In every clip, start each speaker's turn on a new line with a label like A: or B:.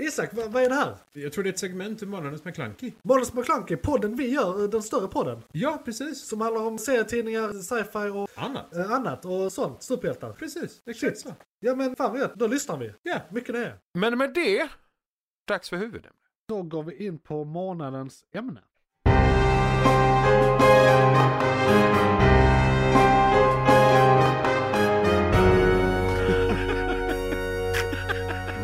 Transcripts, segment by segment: A: Isak, vad, vad är det här?
B: Jag tror det är ett segment ur Månadens McKlunky.
A: Måns McClunky, podden vi gör, eh, den större podden.
B: Ja, precis.
A: Som handlar om serietidningar, sci-fi och
B: Annat.
A: eh, annat och sånt. Superhjältar.
B: Precis, exakt så.
A: Ja men fan vad gött, då lyssnar vi.
B: Ja.
A: Mycket det.
C: Men med det, dags för huvudämnet.
A: Då går vi in på månadens ämne.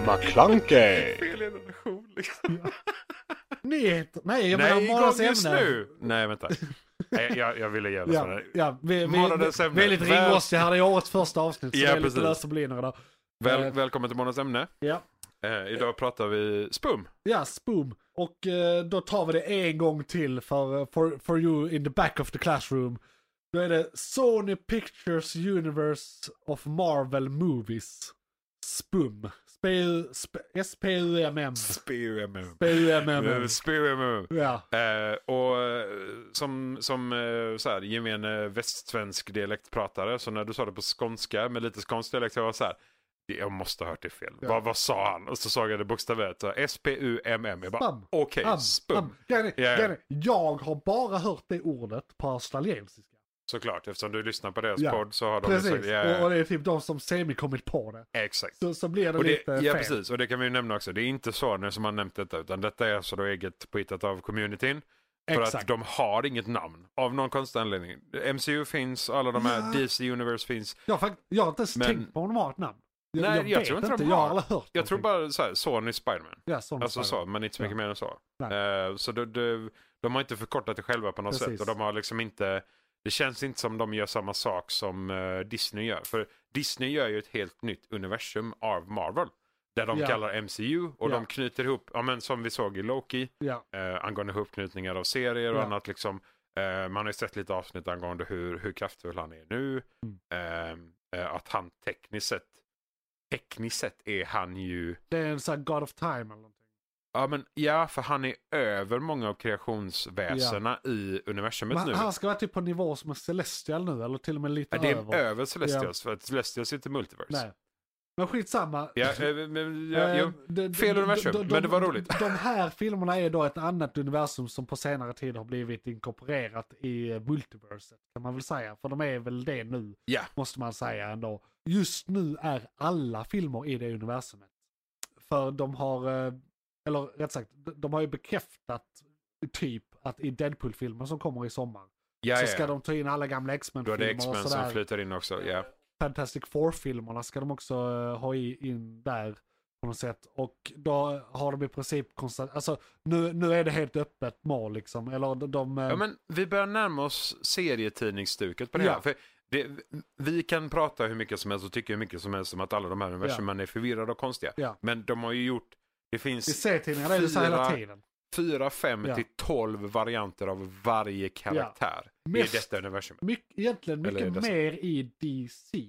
D: McClunkey.
C: Fel innovation liksom.
A: Nyheter. Nej, jag menar
C: Nej,
A: månadens
C: igång
A: ämne.
C: just nu! Nej, vänta. Nej, jag, jag ville göra
A: Ja,
B: Alltså,
C: sådär.
A: ja, vi, vi,
C: Månadens
A: vi,
C: ämne.
A: vi är lite
C: Väl-
A: ringrostiga här, det är årets första avsnitt. Så
C: Ja,
A: det är lite
C: precis.
A: lösa boliner där.
C: Väl, välkommen till Månadens ämne.
A: Ja.
C: Eh, idag pratar vi spum.
A: Ja, spoom. Och eh, då tar vi det en gång till för, eh, for, for you in the back of the classroom. Då är det Sony Pictures Universe of Marvel Movies. SPUM. Sp- sp- S-P-U-M-M.
C: Spearmum. Eh,
A: S-P-U-M-M.
C: Spearmum.
A: Ja,
C: Eh, och eh, som, som eh, så här, gemene västsvensk dialektpratare, så när du sa det på skånska med lite skånsk dialekt, jag var så här, jag måste ha hört det fel. Vad, vad sa han? Och så sa jag det bokstavet, så S-P-U-M-M. Jag bara,
A: Spam.
C: okej,
A: am,
C: spum.
A: am. Grejen är-
C: Ja.
A: grejen är, Jag har bara hört det ordet på australiensiska.
C: Såklart, eftersom du lyssnar på deras
A: Ja,
C: podd så har de
A: Precis,
C: sagt, ja,
A: och, och det är typ de som semi-kommit på det.
C: exakt.
A: Så, så blir det,
C: Och det,
A: lite
C: ja,
A: fel.
C: precis. Och det kan vi ju nämna också. Det är inte Sony som har nämnt detta, utan detta är alltså då eget påhittat av communityn. För
A: Exakt.
C: att de har inget namn, av någon konstig anledning. MCU finns, alla de här,
A: Ja.
C: DC Universe finns.
A: Jag, har fakt- jag har inte ens
C: Men-
A: tänkt på om de har ett namn. Jag,
C: Nej,
A: jag,
C: jag
A: vet
C: tror inte de
A: Jag
C: har.
A: har aldrig hört
C: Jag tror
A: någonting.
C: bara så här, Sony Spiderman.
A: Ja, sån
C: Alltså
A: spider.
C: så, men inte så mycket mer än så.
A: Nej.
C: Eh, så de, de, de har inte förkortat det själva på något
A: Precis.
C: sätt. Och de har liksom inte, det känns inte som de gör samma sak som eh, Disney gör. För Disney gör ju ett helt nytt universum av Marvel. Där de
A: Ja.
C: kallar MCU och
A: Ja.
C: de knyter ihop, ja, men som vi såg i Loki,
A: Ja,
C: eh, angående ihopknytningar av serier och
A: Ja.
C: annat. Liksom, eh, man har ju sett lite avsnitt angående hur, hur kraftfull han är nu.
A: Mm.
C: Eh, eh, att han tekniskt sett, tekniskt sett är han ju
A: det är en sån här God of Time eller någonting.
C: Ja, men, ja, för han är över många av kreationsväsena i universumet
A: Men
C: nu.
A: han ska vara typ på en nivå som är Celestial nu, eller till och med lite
C: Ja, det är
A: över.
C: över Celestials, för att Celestials är inte multiverse.
A: Nej. Men skitsamma.
C: Ja, eh, men, ja,
A: Eh,
C: jo.
A: d- d-
C: fel
A: d-
C: universum,
A: d- d-
C: men det var
A: d-
C: roligt.
A: De här filmerna är då ett annat universum som på senare tid har blivit inkorporerat i eh, multiverset. Kan man väl säga, för de är väl det nu.
C: Ja.
A: Måste man säga ändå. Just nu är alla filmer i det universumet. För de har, eh, eller rätt sagt, de- de har ju bekräftat typ att i Deadpool-filmen som kommer i sommar
C: ja,
A: så
C: ja,
A: ska
C: ja.
A: de ta in alla gamla
C: Då är det
A: X-Men-filmer och
C: X-Men som
A: sådär.
C: flyter in också. Ja.
A: Fantastic Four-filmerna ska de också eh, ha i, in där på något sätt. Och då har de i princip konstant, alltså nu, nu är det helt öppet mål liksom. Eller de, de eh,
C: Ja, men vi börjar närma oss serietidningsstuket på det
A: Ja.
C: här. För det, vi kan prata hur mycket som helst och tycka hur mycket som helst om att alla de här universumen är förvirrade och konstiga.
A: Ja.
C: Men de har ju gjort, det
A: i
C: finns
A: serietidningarna är det så här hela
C: fyra-
A: tiden.
C: fyra, fem
A: Ja.
C: till tolv varianter av varje karaktär
A: Mest-
C: i detta universum.
A: Myck, egentligen
C: Eller
A: mycket
C: det-
A: mer i DC.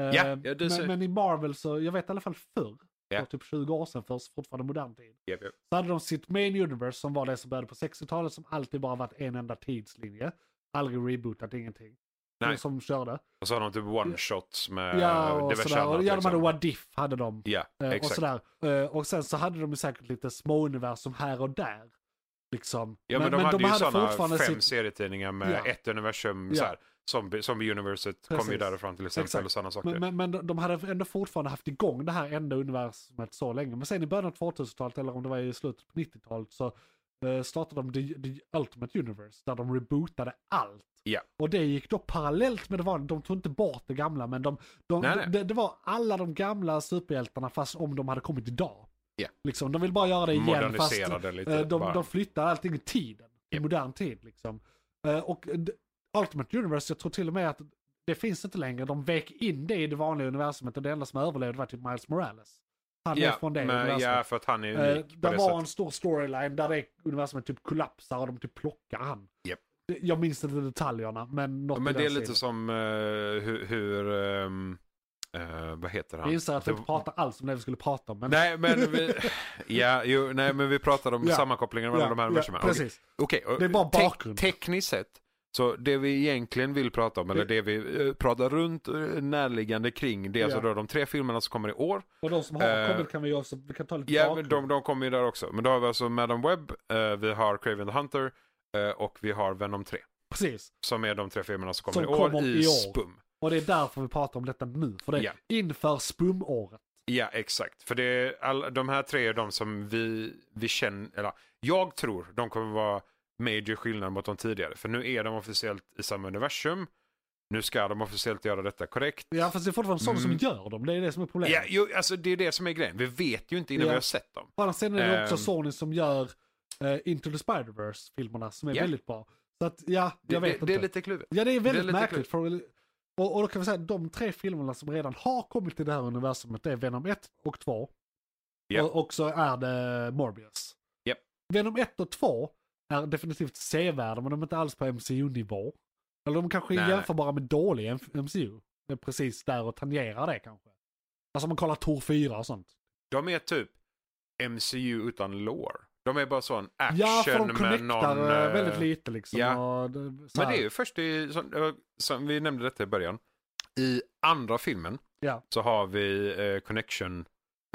A: Eh,
C: Ja, ja, du ser-
A: men, men i Marvel så, jag vet i alla fall förr,
C: Ja.
A: för typ 20 år sedan först, fortfarande modern tid.
C: Japp, japp.
A: Så hade de sitt main universe som var det som började på 60-talet som alltid bara varit en enda tidslinje. Aldrig rebootat, ingenting.
C: Nej.
A: De som körde.
C: Och så har de typ one-shots med
A: Mm. Ja, och
C: diverse
A: sådär. Och
C: annat.
A: ja, de
C: liksom.
A: hade What If, hade de.
C: Ja,
A: Eh, och
C: exakt.
A: sådär. Eh, Och sen så hade de ju säkert lite små universum här och där. Liksom.
C: Ja, men, de hade ju sådana fem
A: sitt-
C: serietidningar med
A: Ja.
C: ett universum.
A: Ja.
C: Så här, zombie, zombie-universet kom ju
A: Precis.
C: därifrån till exempel.
A: Exakt.
C: Och sådana saker.
A: men, men, men de de hade ändå fortfarande haft igång det här enda universumet så länge. Men sen i början av 2000-talet, eller om det var i slutet på 90-talet, så eh, startade de The, The Ultimate Universe, där de rebootade allt.
C: Ja.
A: Och det gick då parallellt med det vanliga. De tog inte bort det gamla, men de, de,
C: Nej, nej.
A: Det, det var alla de gamla superhjältarna, fast om de hade kommit idag.
C: Ja.
A: Liksom, de vill bara göra det igen, fast
C: Modernisera det lite,
A: eh, de,
C: bara.
A: de flyttar allting i tiden. I
C: Japp.
A: modern tid liksom. Eh, Och eh, d- Ultimate Universe, jag tror till och med att det finns inte längre. De vek in det i det vanliga universumet och det enda som överlevde var typ Miles Morales. Han är
C: ja,
A: från det
C: men, ja,
A: universumet.
C: för att han är
A: Eh,
C: unik på
A: det
C: det
A: var en
C: sättet.
A: stor storyline där det universumet typ kollapsar och de typ plockar han.
C: Japp.
A: Det- Jag minns inte detaljerna, men något
C: Ja,
A: i
C: Men
A: den
C: det är lite
A: stilen.
C: som eh, hur... hur ehm, eh, vad heter han?
A: Jag inser att vi
C: Det-
A: inte pratar alls om det vi skulle prata om. Men...
C: Nej men, vi, ja, jo, nej, men vi pratade om
A: Ja.
C: sammankopplingen
A: Ja,
C: mellan de här
A: ja,
C: universumen. Okej.
A: precis.
C: Okej, och
A: Det är bara
C: te-
A: bakgrund.
C: tekniskt sett Så det vi egentligen vill prata om, eller det vi eh, pratar runt eh, närliggande kring, det är alltså
A: Ja.
C: då de tre filmerna som kommer i år.
A: Och de som har
C: Eh,
A: kommit kan vi också, vi kan ta lite
C: Ja, men
A: bakgrund.
C: de, de kommer ju där också. Men då har vi alltså Madam Web, eh, vi har Craven the Hunter eh, och vi har Venom 3.
A: Precis.
C: Som är de tre filmerna som
A: Som
C: kommer i år
A: kommer
C: i,
A: i år.
C: Spum.
A: Och det är därför vi pratar om detta nu. För det är
C: Ja.
A: inför spumåret.
C: Ja, exakt. För det är all, de här tre är de som vi, vi känner, eller jag tror de kommer vara major skillnad mot de tidigare. För nu är de officiellt i samma universum. Nu ska de officiellt göra detta korrekt.
A: Ja, fast det är fortfarande sådana
C: Mm.
A: som gör dem. Det är det som är problemet.
C: Ja, jo, alltså det är det som är grejen. Vi vet ju inte innan
A: Ja.
C: vi har sett dem.
A: På andra sidan är det också
C: Ehm.
A: Sony som gör eh, Into the Spider-Verse filmerna som är
C: Ja.
A: väldigt bra. Så att ja,
C: Det,
A: jag vet
C: det,
A: inte.
C: det är lite klurigt.
A: Ja, det är väldigt
C: lite
A: märkligt. För, och, och då kan vi säga att de tre filmerna som redan har kommit till det här universumet det är Venom 1 och 2.
C: Ja.
A: Och, och så är det Morbius.
C: Japp.
A: Venom 1 och 2 är definitivt sevärda men de är inte alls på MCU-nivå. Eller de kanske är
C: Nej, nej.
A: jämförbara med dålig M- MCU. Det är precis där och tangerar det kanske. Alltså om man kollar Tor 4 och sånt.
C: De är typ MCU utan lore. De är bara sån action
A: Ja, för de
C: med
A: connectar
C: någon...
A: eh,
C: eh,
A: väldigt lite liksom.
C: ja.
A: Och, det- så
C: Men det
A: här.
C: är ju först i, som, eh, som vi nämnde detta i början. I andra filmen
A: Ja.
C: så har vi eh, connection,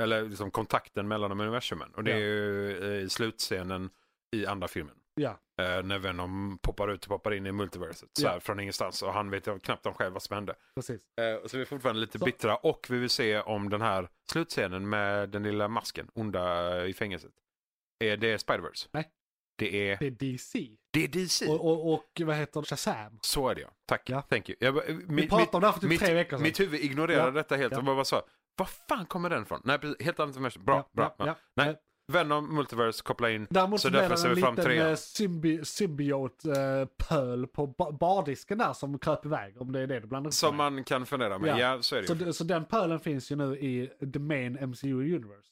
C: eller liksom kontakten mellan de universumen. Och det
A: Ja.
C: är ju eh, i slutscenen i andra filmen.
A: Ja.
C: Eh, när Venom poppar ut och poppar in i multiverset så
A: Ja.
C: här, från ingenstans. Och han vet ju knappt om själv vad som hände.
A: Precis.
C: Eh, Så vi är fortfarande lite
A: Så-
C: bittra och vi vill se om den här slutscenen med den lilla masken, onda i fängelset. Är det Spider-Verse?
A: Nej.
C: Det är,
A: Det är DC.
C: det är DC.
A: Och, och, och vad heter det? Shazam.
C: Så är det ja. Tack.
A: Ja.
C: Thank you. Jag, bara- eh,
A: Vi
C: mi-
A: pratade om det här för typ
C: mitt-
A: tre veckor
C: mi-
A: sedan.
C: mitt huvud ignorerade
A: Ja.
C: detta helt
A: Ja.
C: och bara, bara sa, vad fan kommer den ifrån? Nej, precis, helt annat universum. Bra,
A: Ja,
C: bra.
A: ja,
C: bra.
A: ja.
C: Nej.
A: Eh,
C: Venom, Multiverse, koppla in.
A: Däremot
C: Så
A: så
C: därför
A: blev
C: ser
A: det en
C: vi fram
A: liten
C: trean.
A: eh, symbi symbiot-pöl på ba- bardisken där som kröp iväg. Om det är det du blandar ihop
C: Som
A: med.
C: man kan fundera med. Ja,
A: Ja.
C: så är det
A: så,
C: ju.
A: d- så den pölen finns ju nu i the main MCU universe.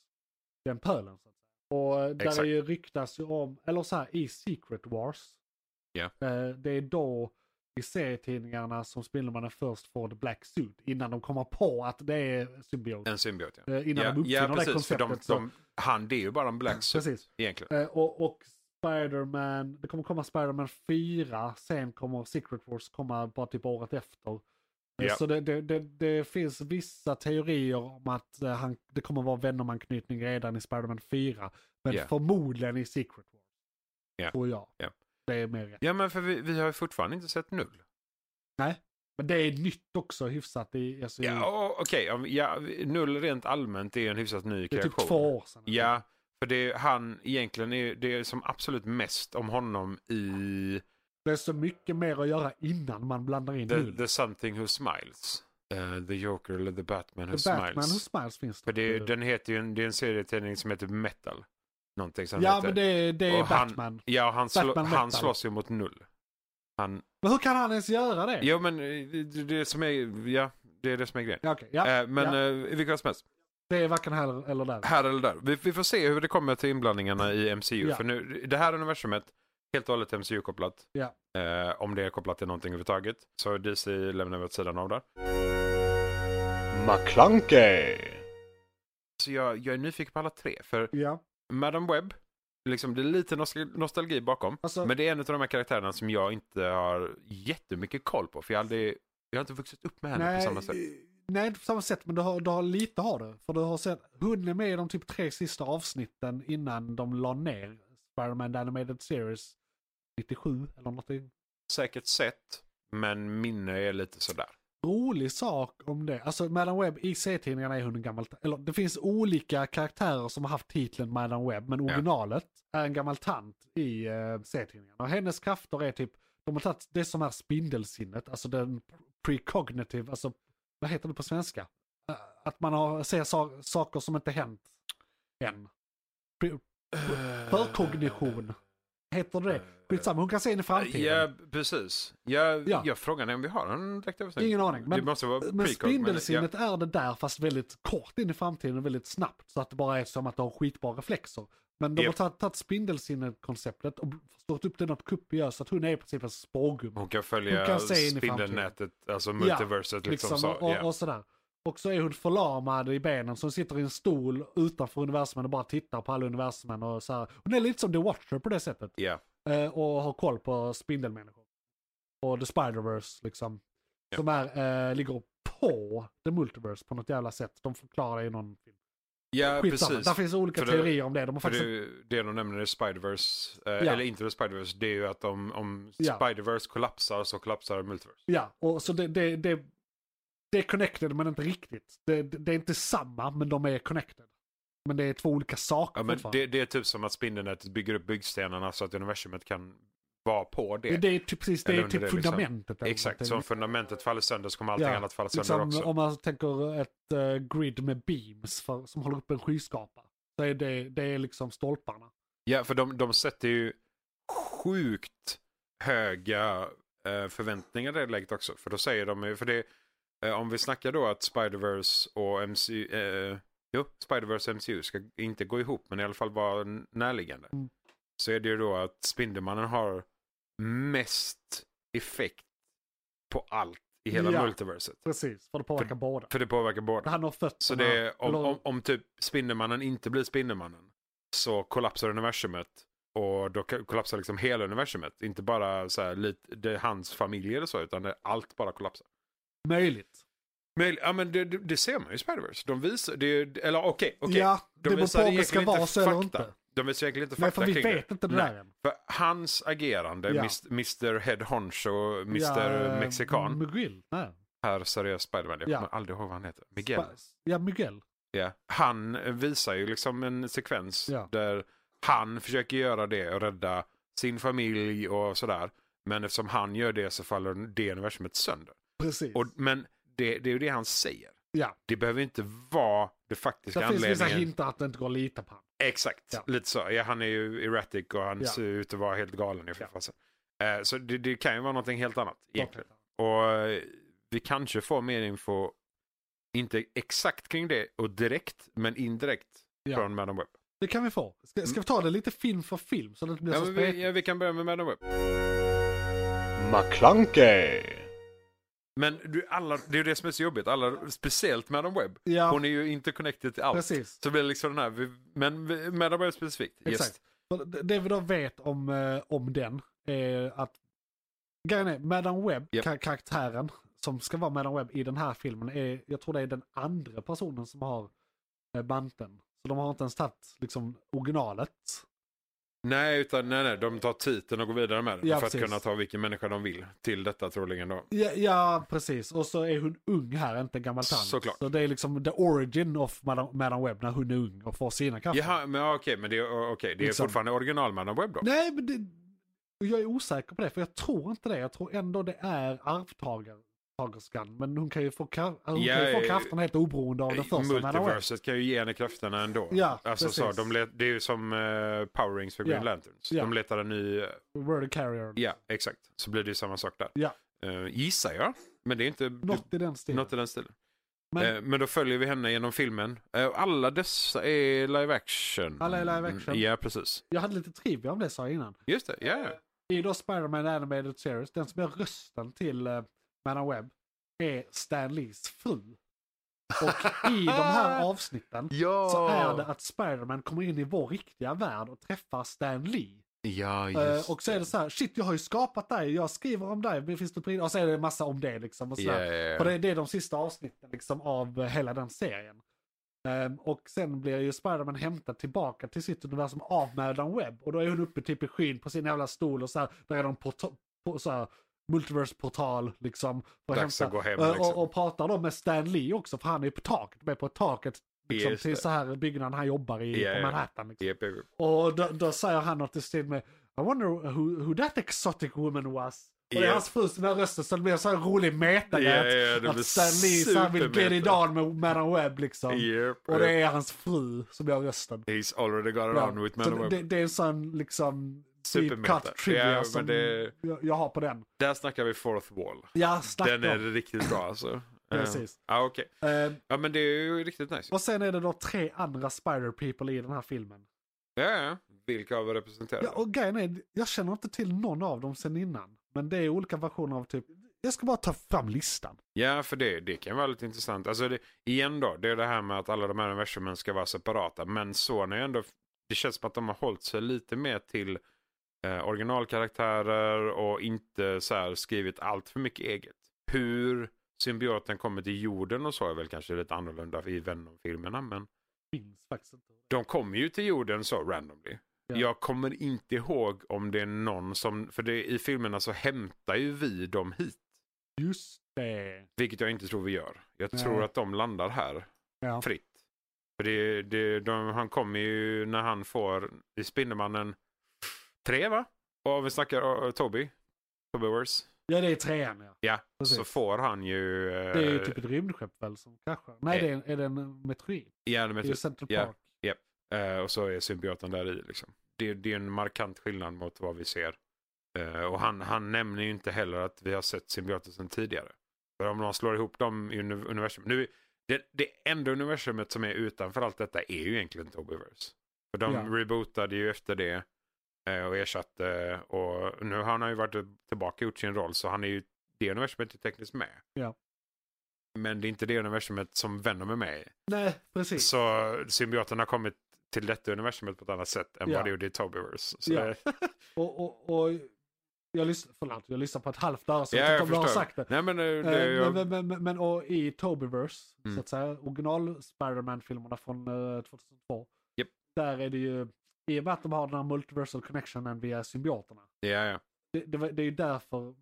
A: Den pölen. Så att säga. Och eh, där
C: Exakt.
A: är ju ryktas ju om, eller så här i Secret Wars.
C: Ja.
A: Eh, det är då i serietidningarna som Spindelmannen först får the black suit. Innan de kommer på att det är symbiot.
C: En symbiot ja.
A: Eh, innan
C: Ja,
A: de uppfinner
C: ja,
A: det
C: precis. För
A: konceptet.
C: de,
A: så-
C: de, han, det är ju bara en black suit
A: Precis.
C: egentligen.
A: Eh, och, och Spider-Man, det kommer komma Spider-Man 4, sen kommer Secret Wars komma bara typ året efter. Eh,
C: Ja.
A: Så det, det, det, det finns vissa teorier om att eh, han, det kommer vara Venom-anknytning redan i Spider-Man 4. Men
C: Ja.
A: förmodligen i Secret Wars.
C: Ja.
A: Tror jag.
C: Ja.
A: Det är mer rätt.
C: Ja men för vi, vi har ju fortfarande inte sett Null.
A: Men det är nytt också hyfsat i... Alltså, i-
C: Ja, och- okej. om- ja, Null rent allmänt är en hyfsat ny
A: det är
C: kreation.
A: typ två år sedan.
C: Ja, för det är han egentligen är det är som absolut mest om honom i
A: Det är så mycket mer att göra innan man blandar in
C: The,
A: Hulk.
C: the Something Who Smiles. Eh, the Joker eller The Batman Who
A: The Batman Eh.
C: Smiles.
A: och Smiles finns
C: För det, är-
A: inte.
C: den heter ju en, det är en serietidning som heter Metal. Någonting som
A: ja,
C: heter.
A: men det, är- det är
C: Och han-
A: Batman.
C: Ja, och han, slå,
A: Batman
C: han
A: Metal.
C: slåss ju mot null. Han,
A: Men hur kan han ens göra det?
C: ja, men eh, det, det som är, ja, det är det som är grejen.
A: Ja, okej. ja.
C: Eh, men
A: ja.
C: eh, i vilket fall som helst.
A: Det är varken här eller där.
C: Här eller där. Vi, vi får se hur det kommer till inblandningarna i MCU.
A: Ja.
C: För nu, det här universumet, helt och hållet MCU-kopplat.
A: Ja.
C: Eh, om det är kopplat till någonting överhuvudtaget. Så DC lämnar vi åt sidan av där.
D: McClunkey.
C: Så jag, jag är nyfiken på alla tre. För
A: Ja,
C: Madam Webb, liksom, det är lite nostal- nostalgi bakom.
A: alltså,
C: Men det är en av de här karaktärerna som jag inte har jättemycket koll på. För jag, har aldrig, jag har inte vuxit upp med henne på
A: nej,
C: samma sätt.
A: nej, inte på samma sätt, men du har, du har lite har du. För du har sett, hon är med i de typ tre sista avsnitten innan de la ner Spider-Man The Animated Series 97 eller någonting.
C: Säkert sett, men minne är lite sådär.
A: Rolig sak om det, alltså Madam Web i C-tidningarna är hon en gammal, eller det finns olika karaktärer som har haft titeln Madam Web, men originalet är en gammal tant i eh, C-tidningarna. Och hennes krafter är typ, de har tagit det som är spindelsinnet, alltså den precognitive, alltså vad heter det på svenska? Eh, Att man har, ser sa- saker som inte hänt än. Pre- Förkognition. Heter det Skitsamma, hon kan se in i framtiden.
C: Ja, precis. Jag,
A: Ja.
C: jag frågar dig om vi har en direkt översättning.
A: Ingen aning.
C: det
A: Men,
C: måste vara
A: men
C: precog, men-
A: spindelsinnet är det där fast väldigt kort in i framtiden och väldigt snabbt. Så att det bara är som att de har skitbara reflexer. Men de
C: Japp.
A: har tagit- tagit spindelsinnet-konceptet och stått upp det något kopiöst så att hon är i princip en spårgumma.
C: Hon kan följa
A: Hon kan se in i
C: spindelnätet, alltså multiverset. liksom,
A: Liksom,
C: så.
A: och,
C: ja.
A: och sådär. Och så är hon förlamad i benen så hon sitter i en stol utanför universumen och bara tittar på alla universumen och så här. Hon är lite som The Watcher på det sättet.
C: Ja.
A: Eh, och har koll på spindelmänniskor. och The Spider-Verse liksom.
C: Ja.
A: Som är, eh, ligger på The Multiverse på något jävla sätt. De förklarar det i någon film.
C: Ja,
A: Skitsamma,
C: precis.
A: där finns olika
C: För det-
A: teorier om det. De har
C: För
A: faktiskt...
C: det, det de nämner i Spider-Verse, eh,
A: Ja.
C: eller inte i Spider-Verse, det är ju att om, om
A: Ja.
C: Spider-Verse kollapsar så kollapsar Multiverse.
A: Ja, och så det, det, det, det är connected men inte riktigt. Det, det, det är inte samma men de är connected. Men det är två olika saker
C: Ja, men
A: fortfarande.
C: det, det är typ som att spindelnätet bygger upp byggstenarna så att universumet kan vara på det.
A: det, är typ, precis, det
C: Eller
A: är
C: under
A: typ
C: det, liksom.
A: fundamentet. eller
C: Exakt,
A: någonting.
C: så om fundamentet faller sönder så kommer allting
A: Ja,
C: annat falla sönder
A: liksom,
C: också.
A: Om man tänker ett eh, grid med beams för, som håller upp en skyskrapa. Så är det, det är liksom stolparna.
C: Ja, för de, de sätter ju sjukt höga eh, förväntningar i det läget också. För då säger de ju, för det, eh, om vi snackar då att Spider-Verse och MCU, eh, jo, Spider-Verse och MCU ska inte gå ihop, men i alla fall vara n- närliggande.
A: Mm.
C: Så är det ju då att Spindelmannen har mest effekt på allt i hela
A: Ja.
C: multiverset.
A: Precis, för det påverkar båda.
C: För det påverkar båda.
A: Han har fötterna.
C: Så det är, om,
A: eller-
C: om, om typ Spindelmannen inte blir Spindelmannen så kollapsar universumet. Och då ka- kollapsar liksom hela universumet. Inte bara så här, lite, det är hans familj eller så, utan det, allt bara kollapsar.
A: Möjligt.
C: Men, ja, men det, det, det ser man ju i Spider-Verse. De visar, det, är- eller okej, okej.
A: Ja,
C: de
A: det beror på om det ska
C: egentligen
A: vara så eller
C: fakta.
A: inte.
C: De visar egentligen inte
A: Nej,
C: fakta
A: för vi
C: kring det.
A: vet inte det
C: Nej.
A: där än.
C: För hans agerande,
A: Ja.
C: mis- Mr Head Honcho, Mr
A: Ja, eh,
C: Mexikan,
A: Miguel, nej.
C: här seriös Spider-Man, jag
A: Ja.
C: kommer aldrig ihåg vad han heter. Miguel.
A: Spa- Ja, Miguel.
C: Ja. Han visar ju liksom en sekvens
A: Ja.
C: där han försöker göra det och rädda sin familj och sådär. Men eftersom han gör det så faller det universumet sönder.
A: Precis.
C: Och, men det, det är ju det han säger.
A: ja,
C: Det behöver inte vara det faktiska
A: det finns vissa
C: anledningen.
A: hintar att det inte går att lita på honom.
C: Exakt,
A: Ja.
C: lite så. Ja, han är ju erratic och han
A: Ja.
C: ser ut att vara helt galen i
A: Ja.
C: förfasen. Eh, så det, det kan ju vara någonting helt annat egentligen. Och eh, vi kanske får mer info, inte exakt kring det och direkt, men indirekt
A: Ja.
C: från Madam Web.
A: Det kan vi få. Ska, ska vi ta det lite film för film så det inte blir
C: Ja,
A: så
C: men vi,
A: spretigt?
C: ja, vi kan börja med Madam Web.
D: McClunkey,
C: Men du, alla, det är ju det som är så jobbigt, alla, speciellt Madam Web.
A: Ja,
C: Hon är ju inte connected till allt.
A: precis.
C: Så blir det liksom den här, vi, men vi- Madam Web specifikt.
A: Exakt. För det- Det vi då vet om, eh, om den är att grejen är, Madame Webb,
C: Japp.
A: ka- karaktären som ska vara Madame Webb i den här filmen, är, jag tror det är den andra personen som har eh, manteln. Så de har inte ens tagit liksom, originalet.
C: Nej, utan nej, nej, de tar titeln och går vidare med den.
A: Ja,
C: för
A: precis.
C: att kunna ta vilken människa de vill till detta troligen då.
A: Ja, ja, precis. Och så är hon ung här, inte en gammal tant.
C: Såklart.
A: Så det är liksom the origin of Madame, Madame Web när hon är ung och får sina krafter.
C: Jaha, men ja, okej, men det, är- okej, det är
A: Liksom.
C: fortfarande originalman av webb då?
A: Nej, men det, jag är osäker på det, för jag tror inte det. Jag tror ändå det är arvtagerskan. Men hon kan ju få, kra- hon
C: Ja,
A: kan ju få
C: eh,
A: krafterna helt oberoende av den första Madame Web.
C: Multiverset kan ju ge henne krafterna ändå.
A: Ja,
C: alltså, så,
A: precis.
C: de let, det är ju som eh, Power Rings för Green
A: Ja.
C: Lanterns.
A: Ja.
C: De letar en ny, eh,
A: Word Carrier.
C: ja exakt. Så blir det ju samma sak där.
A: Ja.
C: Eh, gissar jag, men det är inte
A: Något i den stilen.
C: något i den stilen.
A: Men-
C: Men, eh, men då följer vi henne genom filmen. Eh, alla dessa är live action.
A: Alla är live action.
C: Mm, Ja, precis.
A: Jag hade lite trivia om det sa jag innan.
C: Just det, ja. ja.
A: I då Spider-Man Animated Series, den som är rösten till uh, Madame Web är Stan Lees fru. Och i de här avsnitten
C: Ja.
A: så är det att Spider-Man kommer in i vår riktiga värld och träffar Stan Lee.
C: Ja,
A: Eh,
C: just
A: och så är det så här, shit jag har ju skapat dig, jag skriver om dig, men finns det på och så är det en massa om det liksom. Och, så
C: Ja,
A: där.
C: ja, ja.
A: och det, det är de sista avsnitten liksom av eh, hela den serien. Ehm, och sen blir ju Spiderman hämtad tillbaka till sitt universum av Madame Web. Och då är hon uppe typ i skyn på sin jävla stol och så här, där är de porta- på, så här, multiverse-portal liksom. För att
C: Dags att gå hem,
A: Eh,
C: liksom.
A: och, och pratar då med Stan Lee också, för han är på taket, de är på taket. Liksom,
C: Just
A: till
C: det.
A: så här byggnaden han jobbar i
C: Ja,
A: på
C: ja.
A: Manhattan. Liksom.
C: Japp, japp, japp.
A: Och då, då säger han något i stil med I wonder who, who that exotic woman was. Och det är
C: Ja.
A: hans fru som är rösten så det blir en sån här rolig meta
C: Ja,
A: att,
C: ja, det blir
A: att Stan Lee så här vill get it
C: supermeta.
A: on med Madame Web liksom.
C: Japp,
A: Och det
C: japp.
A: är hans fru som gör rösten.
C: He's already got
A: Ja,
C: around with
A: så
C: Madam Web.
A: det, det är en sån liksom deep
C: Supermeta.
A: cut trivia
C: Ja,
A: som
C: men det-
A: jag, jag har på den.
C: Där snackar vi fourth wall.
A: Ja, snacka
C: Den är
A: om.
C: riktigt bra alltså.
A: Precis.
C: Ja, ah, okej.
A: Eh,
C: Ja, men det är ju riktigt nice.
A: och sen är det då tre andra Spider People i den här filmen.
C: Ja, ja. Vilka av er representerar?
A: Ja, och grejen är, jag känner inte till någon av dem sen innan. Men det är olika versioner av typ, jag ska bara ta fram listan.
C: Ja, för det, det kan vara lite intressant. Alltså, det, igen då, det är det här med att alla de här universumen ska vara separata. Men Sony är ändå, det känns som att de har hållit sig lite mer till eh, originalkaraktärer och inte så här skrivit allt för mycket eget. Hur symbioten kommer till jorden och så är väl kanske lite annorlunda i Venom-filmerna men
A: Minns faktiskt inte.
C: de kommer ju till jorden så randomly.
A: Ja.
C: Jag kommer inte ihåg om det är någon som, för det, i filmerna så hämtar ju vi dem hit.
A: Just det.
C: Vilket jag inte tror vi gör. Jag
A: Nej.
C: tror att de landar här
A: Ja.
C: fritt. För det, det, de, han kommer ju när han får i Spindelmannen 3 va? Och vi snackar uh, Toby. Toby Wars.
A: ja, det är trean ja.
C: Ja,
A: Precis.
C: så får han ju... eh,
A: Det är ju typ ett rymdskepp väl som kraschar. Nej,
C: eh,
A: det är, en- är det en meteorit?
C: ja,
A: Det
C: men
A: är ju Central
C: ja.
A: Park.
C: Eh, och så är symbioten där i. Liksom. Det, det är en markant skillnad mot vad vi ser. Eh, och han, han nämner ju inte heller att vi har sett symbioten sedan tidigare. För om man slår ihop dem i uni- universum. Nu, det, det enda universumet som är utanför allt detta är ju egentligen Tobyverse. För de
A: Ja.
C: rebootade ju efter det eh, och ersatte. Och nu har han ju varit tillbaka och gjort sin roll så han är ju det universumet är tekniskt med.
A: Ja.
C: Men det är inte det universumet som Venom är med i.
A: Nej, precis.
C: Så symbioten har kommit till detta universumet på ett annat sätt än
A: Ja.
C: vad det gjorde i Tobyverse. Så
A: Ja.
C: det-
A: Och, och, och jag, lyssnar, förlåt, jag lyssnar på ett halvt öra så
C: Ja,
A: jag vet inte om jag har
C: förstår.
A: sagt det.
C: Nej, men, eh, det,
A: Eh,
C: jag,
A: Men, men, men, men och i Tobyverse,
C: Mm.
A: så att säga, original Spider-Man-filmerna från eh, 2002.
C: Japp.
A: Där är det ju, i och med att de har den här multiversal connectionen via symbioterna.
C: ja, ja.
A: Det, det, var, det är ju därför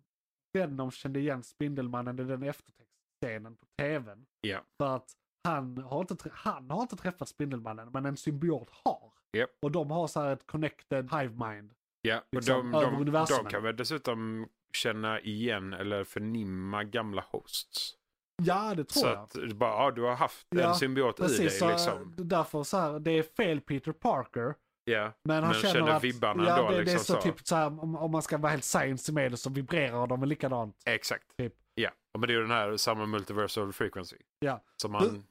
A: Venom kände igen Spindelmannen i den eftertextscenen på tvn.
C: Ja.
A: För att han har, inte, trä- han har inte träffat Spindelmannen, men en symbiot har.
C: Japp.
A: Och de har så här ett connected hive mind.
C: ja. Och
A: Liksom,
C: de,
A: över
C: de, de,
A: universumen.
C: kan väl dessutom känna igen eller förnimma gamla hosts.
A: Ja, det tror
C: Så
A: jag.
C: att det bara, ja, du har haft
A: Ja,
C: en symbiot i dig
A: Precis, så
C: liksom.
A: det är därför så här, det är fel Peter Parker.
C: Ja.
A: Men han
C: Men
A: känner,
C: känner
A: att,
C: vibbarna
A: ja,
C: då,
A: det, det är
C: liksom
A: så,
C: så.
A: typ så här, om, om man ska vara helt science med det så vibrerar de väl likadant.
C: Exakt.
A: Typ.
C: Ja. Och men det är ju den här samma multiversal frequency.
A: Ja.
C: Som man...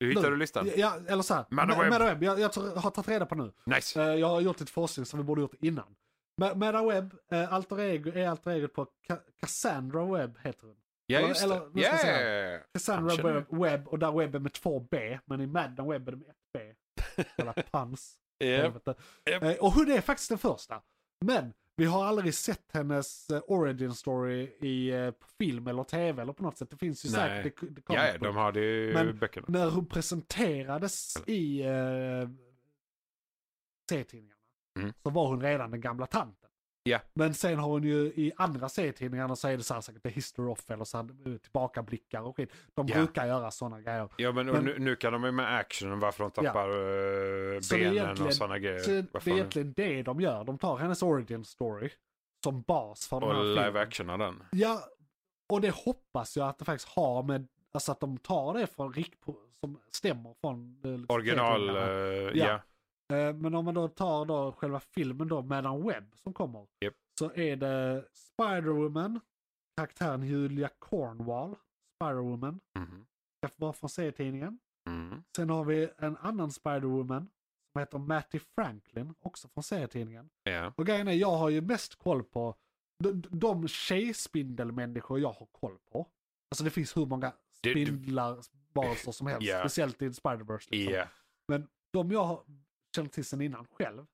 C: Du, hittade du listan?
A: Ja, eller så här,
C: Madaweb.
A: Ma- Madaweb, jag, jag tror- har tagit reda på nu.
C: Nice.
A: Eh, Jag har gjort ett forskning som vi borde gjort innan. Ma- Madaweb, eh, alter ego, är alter egot på Ca- Cassandra Webb heter hon.
C: ja,
A: eller-
C: just
A: eller
C: det.
A: vad ska
C: Ja,
A: jag
C: ja,
A: säga?
C: ja, ja.
A: Cassandra
C: Kanske
A: Webb, Webb och där Webb är med två B, men i Madden Webb är det med ett B. Jävla pans.
C: Ja.
A: helvete.
C: Japp.
A: Eh, Och hon är faktiskt den första. Men vi har aldrig sett hennes eh, origin story i eh, på film eller tv eller på något sätt. Det finns ju
C: Nej.
A: säkert. Det, det kommer
C: Ja, ja,
A: på-
C: de har det ju i
A: Men-
C: böckerna.
A: När hon presenterades i eh, serietidningarna
C: Mm.
A: så var hon redan den gamla tanten.
C: Ja.
A: Men sen har hon ju i andra serietidningarna så är det så här säkert the history off eller så här, eh, tillbakablickar och skit. De
C: Ja.
A: brukar göra sådana grejer.
C: Ja men, och
A: Men-
C: nu, nu kan de ju med actionen varför de tappar eh,
A: Så det är
C: benen
A: egentligen-
C: och sådana grejer.
A: Så
C: Eh, Vad
A: det är
C: fan?
A: egentligen det de gör. De tar hennes origin story som bas för den här
C: och live
A: filmen.
C: action av den.
A: Ja, och det hoppas jag att det faktiskt har med, alltså att de tar det från rikt som stämmer från eh, liksom,
C: Original,
A: serietidningarna.
C: eh,
A: Ja.
C: ja.
A: Eh, Men om man då tar då själva filmen då, Madam Webb som kommer.
C: Japp.
A: Så är det Spider-Woman, karaktären Julia Cornwall, Spider-Woman,
C: Mhm.
A: ska vara från serietidningen.
C: Mm.
A: Sen har vi en annan Spider-Woman som heter Matty Franklin, också från serietidningen.
C: Ja.
A: Och grejen är, jag har ju mest koll på de, de tjejspindelmänniskor jag har koll på. Alltså det finns hur många
C: Det- det-
A: spindlar, varelser som helst,
C: Ja.
A: speciellt i Spider-Verse. Liksom.
C: Ja.
A: Men de jag har känt till sen innan själv.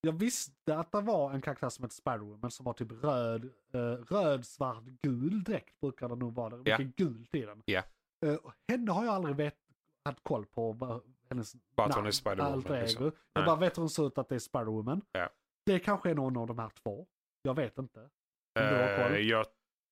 A: Jag visste att det var en karaktär som hette Spider-Woman som var typ röd, eh, röd, svart, gul dräkt brukar det nog vara. Det
C: Ja.
A: är mycket gult i den.
C: Ja.
A: Eh, och henne har jag aldrig vet, haft koll på. vad Hennes
C: Bara att hon
A: namn,
C: är Spider-Woman,
A: alter ego.
C: liksom.
A: Jag
C: Nej.
A: bara vet hur hon ser ut att det är Spider-Woman.
C: Ja.
A: Det kanske är någon av de här två. Jag vet inte. Om du har koll.
C: Eh, jag,
A: Är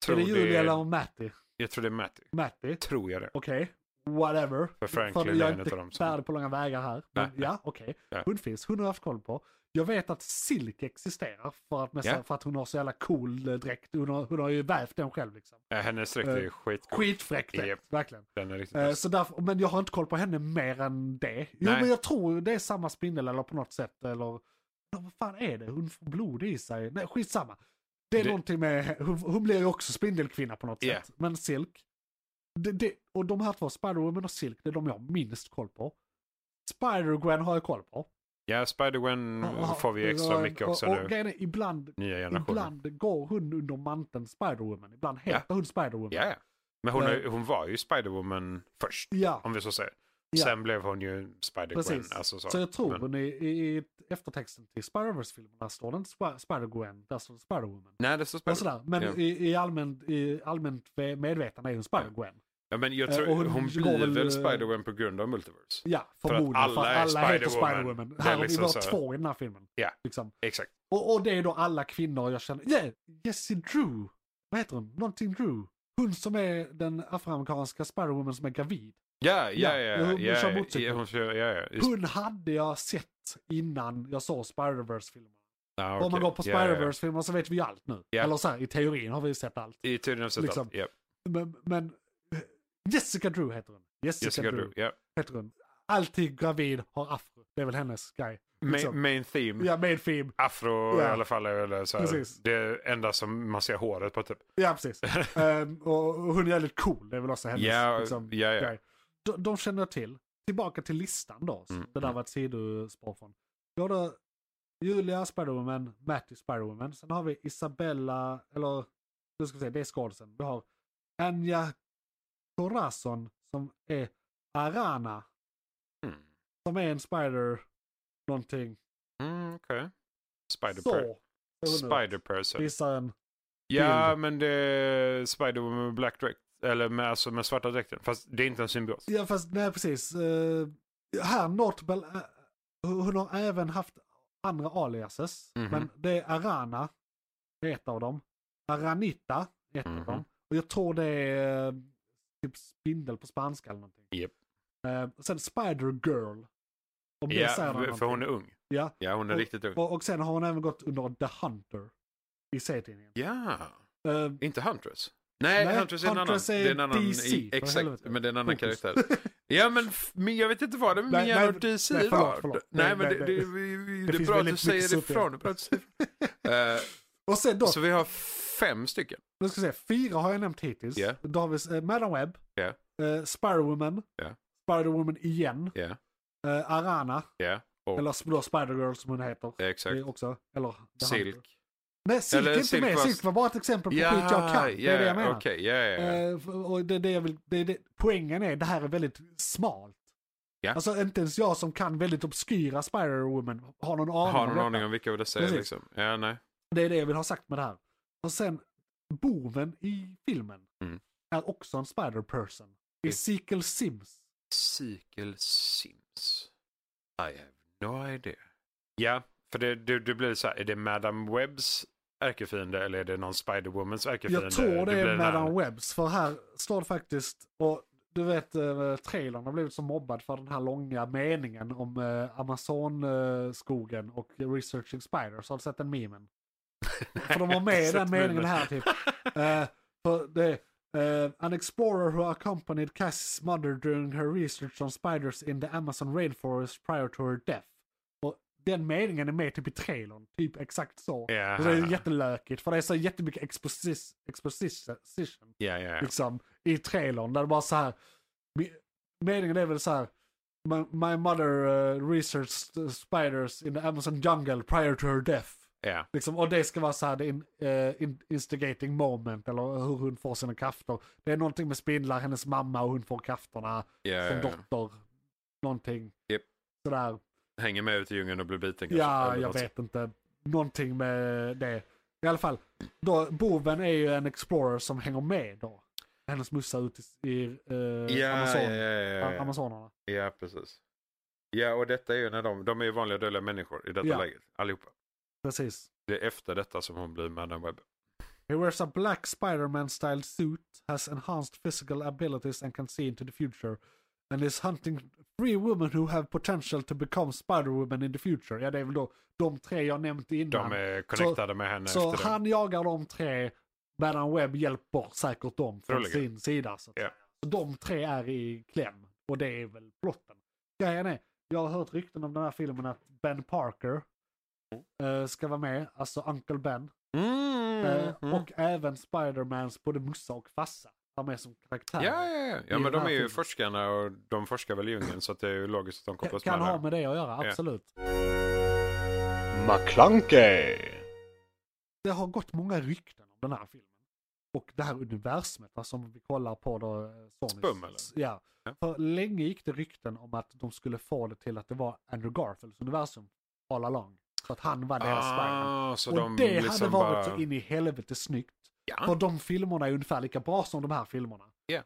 C: tror
A: det Julia
C: det
A: eller Matty?
C: jag tror det är Matty.
A: Matty?
C: Tror jag det.
A: Okej, whatever.
C: För Franklin
A: jag
C: är en
A: inte
C: utav dem som-
A: färdig på långa vägar här. Men
C: Nej.
A: ja, okej.
C: Ja.
A: Hon finns, hon har jag haft koll på. Jag vet att Silke existerar för att, nästan,
C: Ja.
A: för att hon har så jävla cool eh, dräkt. Hon har, hon har ju vävt den själv liksom.
C: Eh, hennes dräkt
A: Eh,
C: är skitcool.
A: Skitfräck dräkt,
C: Japp.
A: verkligen.
C: Den är riktigt
A: Eh,
C: nice.
A: Så därför, men jag har inte koll på henne mer än det. Jo,
C: Nej.
A: men jag tror det är samma spindel eller på något sätt. Eller, Ja, vad fan är det? Hon får blod i sig. Nej, skitsamma. Det är
C: Det-
A: någonting med, hon, hon blir ju också spindelkvinna på något
C: Ja.
A: sätt. Men Silk. Det, det, och de här två, Spider-Woman och Silk, det är de jag har minst koll på. Spider-Gwen har jag koll på.
C: Ja, Spider-Gwen
A: Ja,
C: Mm, får vi extra
A: och-
C: mycket också
A: och, Och
C: nu.
A: grejen är, ibland,
C: Nya generationen.
A: ibland går hon under manteln Spider-Woman. Ibland heter hon Spider-Woman.
C: Ja, ja. Men hon,
A: Eh,
C: är, hon var ju Spider-Woman först.
A: ja.
C: Om vi så säger.
A: Ja.
C: Sen blev hon ju Spider-Gwen.
A: Precis.
C: Alltså,
A: så, jag tror
C: Men,
A: men... i, i i eftertexten till Spider-Verse-filmerna står det inte Spa- Spider-Gwen, där står det Spider-Woman.
C: nej, det står
A: Och
C: Spider-Gwen.
A: sådär. Men
C: Ja.
A: i, i, allmänt, i allmänt ve- medvetande är hon Spider-Gwen.
C: Ja, men jag
A: Eh,
C: tror,
A: och
C: hon,
A: hon går
C: blir
A: väl, eh,
C: väl Spider-Gwen på grund av multiverse.
A: Ja,
C: att
A: förmodligen. För att alla,
C: alla är
A: heter
C: Spider-Woman.
A: Spider-Woman.
C: Det är
A: Här har vi
C: liksom
A: bara
C: så här-
A: två i den här filmen.
C: Ja.
A: Liksom.
C: Exakt.
A: Och, och det är då alla kvinnor jag känner. Yeah, Jessie Drew. Vad heter hon? Någonting Drew. Hon som är den afroamerikanska Spider-Woman som är gravid.
C: Ja, ja,
A: Ja,
C: ja.
A: hon
C: ja,
A: kör
C: ja,
A: motorcykel.
C: ja, hon kör- ja, ja. Just-
A: Hon hade jag sett innan jag såg Spider-Verse-filmerna.
C: ja,
A: Om man
C: Ah, okej.
A: går på
C: Ja, ja, ja.
A: Spider-Verse-filmer så vet vi ju allt nu.
C: Ja.
A: Eller så här, i teorin har vi ju sett allt.
C: I tydligen har
A: Liksom.
C: liksom. ja.
A: Men, men eh, Jessica Drew heter hon. Jessica,
C: Jessica
A: Drew,
C: Drew. Ja.
A: heter hon. Alltid gravid, har afro. Det är väl hennes grej.
C: Ma-
A: Liksom.
C: Main theme.
A: Ja, med film.
C: Afro
A: Ja.
C: i alla fall är väl så
A: Precis.
C: här, det enda som man ser håret på typ.
A: Ja, precis. Ehm, och och hon är jävligt cool. Det är väl också hennes
C: Ja,
A: liksom,
C: ja, ja.
A: grej. De, de känner jag till. Tillbaka till listan då. så
C: Mm,
A: Det där
C: mm.
A: var ett sidospår från. Då har du Julia Spiderwoman, Matty Spiderwoman. Sen har vi Isabella, eller nu ska vi se, det är skådisen. Vi har Anja Corazon som är Arana.
C: Mm.
A: Som är en spider någonting.
C: Mm, Okej. Spider
A: Så.
C: per-
A: ser hon ut.
C: Spider person.
A: Visar en,
C: Ja, men det är Spider-Woman med black dräkt. Eller med, alltså med svarta dräkten. Fast det är inte en symbios.
A: ja fast nej precis. Eh, här Notable, eh, hon har även haft andra aliases.
C: Mhm.
A: Men det är Arana, det är ett av dem. Aranita, är ett
C: Mhm.
A: av dem. Och jag tror det är eh, typ spindel på spanska eller någonting.
C: Japp.
A: Eh, sen Spider Girl. Om det säger
C: Ja, för
A: någonting.
C: för hon är ung.
A: Ja.
C: Ja, hon är
A: Och-
C: riktigt ung.
A: Och, och sen har hon även gått under The Hunter i serietidningen.
C: Ja,
A: Eh,
C: inte Huntress. Nej,
A: Nej,
C: Huntress är en annan.
A: Huntress är
C: det är en annan
A: DC,
C: i-
A: för
C: exakt,
A: helvete.
C: men det är en annan
A: Fokus.
C: karaktär. Ja, men, f- men jag vet inte vad det är med
A: Nej,
C: min
A: nej,
C: hjärna och DC
A: nej, förlåt,
C: idag.
A: förlåt.
C: Nej,
A: Nej,
C: men
A: nej,
C: det,
A: nej.
C: det, det,
A: Det
C: är
A: finns
C: bra att du
A: väldigt mycket
C: säger
A: sopor.
C: ifrån. Det är bra att du säger ifrån. Eh,
A: och sen då
C: Så vi har fem stycken.
A: Nu ska vi se, fyra har jag nämnt hittills.
C: Ja.
A: Då har vi eh, Madam Web,
C: Ja.
A: eh, Spider-Woman,
C: Ja.
A: Spider-Woman igen,
C: Ja,
A: eh, Arana,
C: ja, och
A: eller då Spider-Girl som hon heter. Det
C: exakt.
A: är också, eller The Hunter.
C: Silk.
A: Nej, Silk
C: Eller
A: är inte
C: Silk
A: med.
C: var-
A: Silk var bara ett exempel på skit jag kan. det är det jag menar.
C: Okej, ja, ja, ja.
A: Eh, f- och det, är det jag vill, det, är det, poängen är, det här är väldigt smalt.
C: Ja.
A: Alltså inte ens jag som kan väldigt obskyra Spider-Woman har någon aning
C: Har
A: om
C: någon
A: detta.
C: aning om vilka det säger
A: Precis.
C: liksom? Ja, nej.
A: Det är det jag vill ha sagt med det här. Och sen, boven i filmen
C: Mm.
A: är också en spider-person. Ezekiel Sims.
C: Sequel Sims. I have no idea. Ja, för det, det, det blir så här, är det Madame Webbs ärkefiende eller är det någon Spider-Womans ärkefiende?
A: Jag tror det
C: blir
A: är
C: den här-
A: Madame Webbs, för här står det faktiskt, och du vet eh, trailern har blivit så mobbad för den här långa meningen om eh, Amazonskogen och Researching Spiders. Har du sett den memen? för de har med den meningen här typ. Eh, för det, eh, an explorer who accompanied Cassie's mother during her research on spiders in the Amazon rainforest prior to her death. Och den meningen är med typ i trailern, typ exakt så.
C: Ja.
A: Och det är jättelökigt, för det är så jättemycket exposis, exposition
C: Ja, ja, ja.
A: liksom, i trailern. Där det bara så här, me- meningen är väl så här, my, my mother eh, researched spiders in the Amazon jungle prior to her death.
C: ja.
A: Liksom, och det ska vara så här, det är in, eh, in, instigating moment, eller hur hon får sina krafter. Det är någonting med spindlar, hennes mamma och hon får krafterna
C: ja,
A: som
C: ja, ja.
A: dotter. Någonting.
C: Eh. Japp.
A: Sådär,
C: Hänger med ut i djungeln och blir biten kanske.
A: ja,
C: eller
A: jag
C: något sånt.
A: vet inte. Någonting med det. I alla fall, då, boven är ju en explorer som hänger med då. Hennes mussa ut i, i eh,
C: Ja,
A: Amazon,
C: ja, ja, ja,
A: Amazonerna.
C: ja. ja, precis. Ja, och detta är ju när de, de är ju vanliga dödliga människor i detta
A: Ja.
C: läget, allihopa.
A: Precis.
C: Det är efter detta som hon blir Madame Webb.
A: He wears a black Spider-Man styled suit, has enhanced physical abilities and can see into the future. And is hunting three women who have potential to become Spider-Woman in the future. Ja, det är väl då de tre jag nämnt innan.
C: De är connectade med henne
A: så
C: efter det.
A: han jagar de tre, Madam Webb hjälper säkert dem från
C: Troligen.
A: sin sida. Så att
C: Ja.
A: säga. Så de tre är i kläm och det är väl plotten. Grejen är, jag har hört rykten om den här filmen att Ben Parker eh, ska vara med, alltså Uncle Ben. Eh,
C: Mm. Mm.
A: Och även Spidermans både mussa och fassa är med som karaktär.
C: Ja, ja, ja. ja
A: i
C: men
A: den
C: de
A: här
C: är ju
A: filmen.
C: forskarna och de forskar väl i djungeln så att det är ju logiskt att de
A: Ka-
C: kopplas
A: Kan
C: med.
A: ha
C: här.
A: med det att göra,
C: Ja.
A: absolut.
D: McClunkey.
A: Det har gått många rykten om den här filmen. och det här universumet va, som vi kollar på då. eh, Sonys.
C: Spum, eller?
A: Ja.
C: Ja.
A: För länge gick det rykten om att de skulle få det till att det var Andrew Garfields universum all along. Så att han var deras Spiderman.
C: Ah, så
A: Och
C: de
A: det hade
C: liksom
A: varit
C: bara...
A: så in i helvete snyggt.
C: Ja.
A: För de filmerna är ungefär lika bra som de här filmerna.
C: Ja.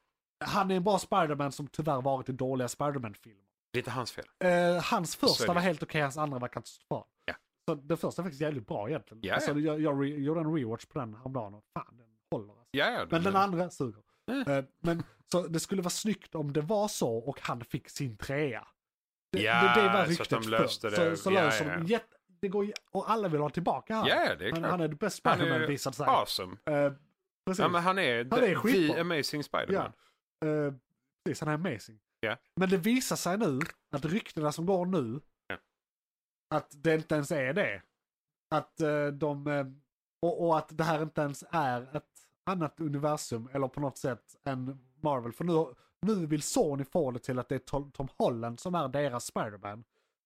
A: Han är en bra Spiderman som tyvärr varit i dåliga Spiderman-filmer.
C: Det är inte hans fel.
A: Eh, hans första
C: är det.
A: var helt okej, hans andra var katastrofal.
C: Ja.
A: Så den första är faktiskt jävligt bra egentligen.
C: Ja,
A: Alltså, jag, jag re- gjorde en rewatch på den häromdagen och fan den håller. Alltså.
C: Ja, ja,
A: Men
C: det-
A: den andra suger.
C: Mm.
A: Eh, Men så det skulle vara snyggt om det var så och han fick sin trea. Det,
C: Ja,
A: det, det
C: så
A: var
C: att
A: ryktet
C: de löste
A: för.
C: det.
A: Så, så
C: Ja,
A: löser
C: ja.
A: de jätte... Det går, ju- och alla vill ha tillbaka han.
C: Ja, det är
A: han,
C: klart.
A: han är the best
C: Han är
A: Spiderman
C: ju
A: visade sig.
C: Awesome.
A: Eh, precis.
C: Ja, men han är,
A: Han är
C: the-
A: skitbra.
C: the amazing Spiderman.
A: Ja. Eh, precis, han är amazing.
C: Ja.
A: Men det visar sig nu att ryktena som går nu,
C: Ja.
A: att det inte ens är det. Att eh, de, eh, och, och att det här inte ens är ett annat universum eller på något sätt än Marvel. För nu, nu vill Sony få det till att det är Tom Tom Holland som är deras Spiderman.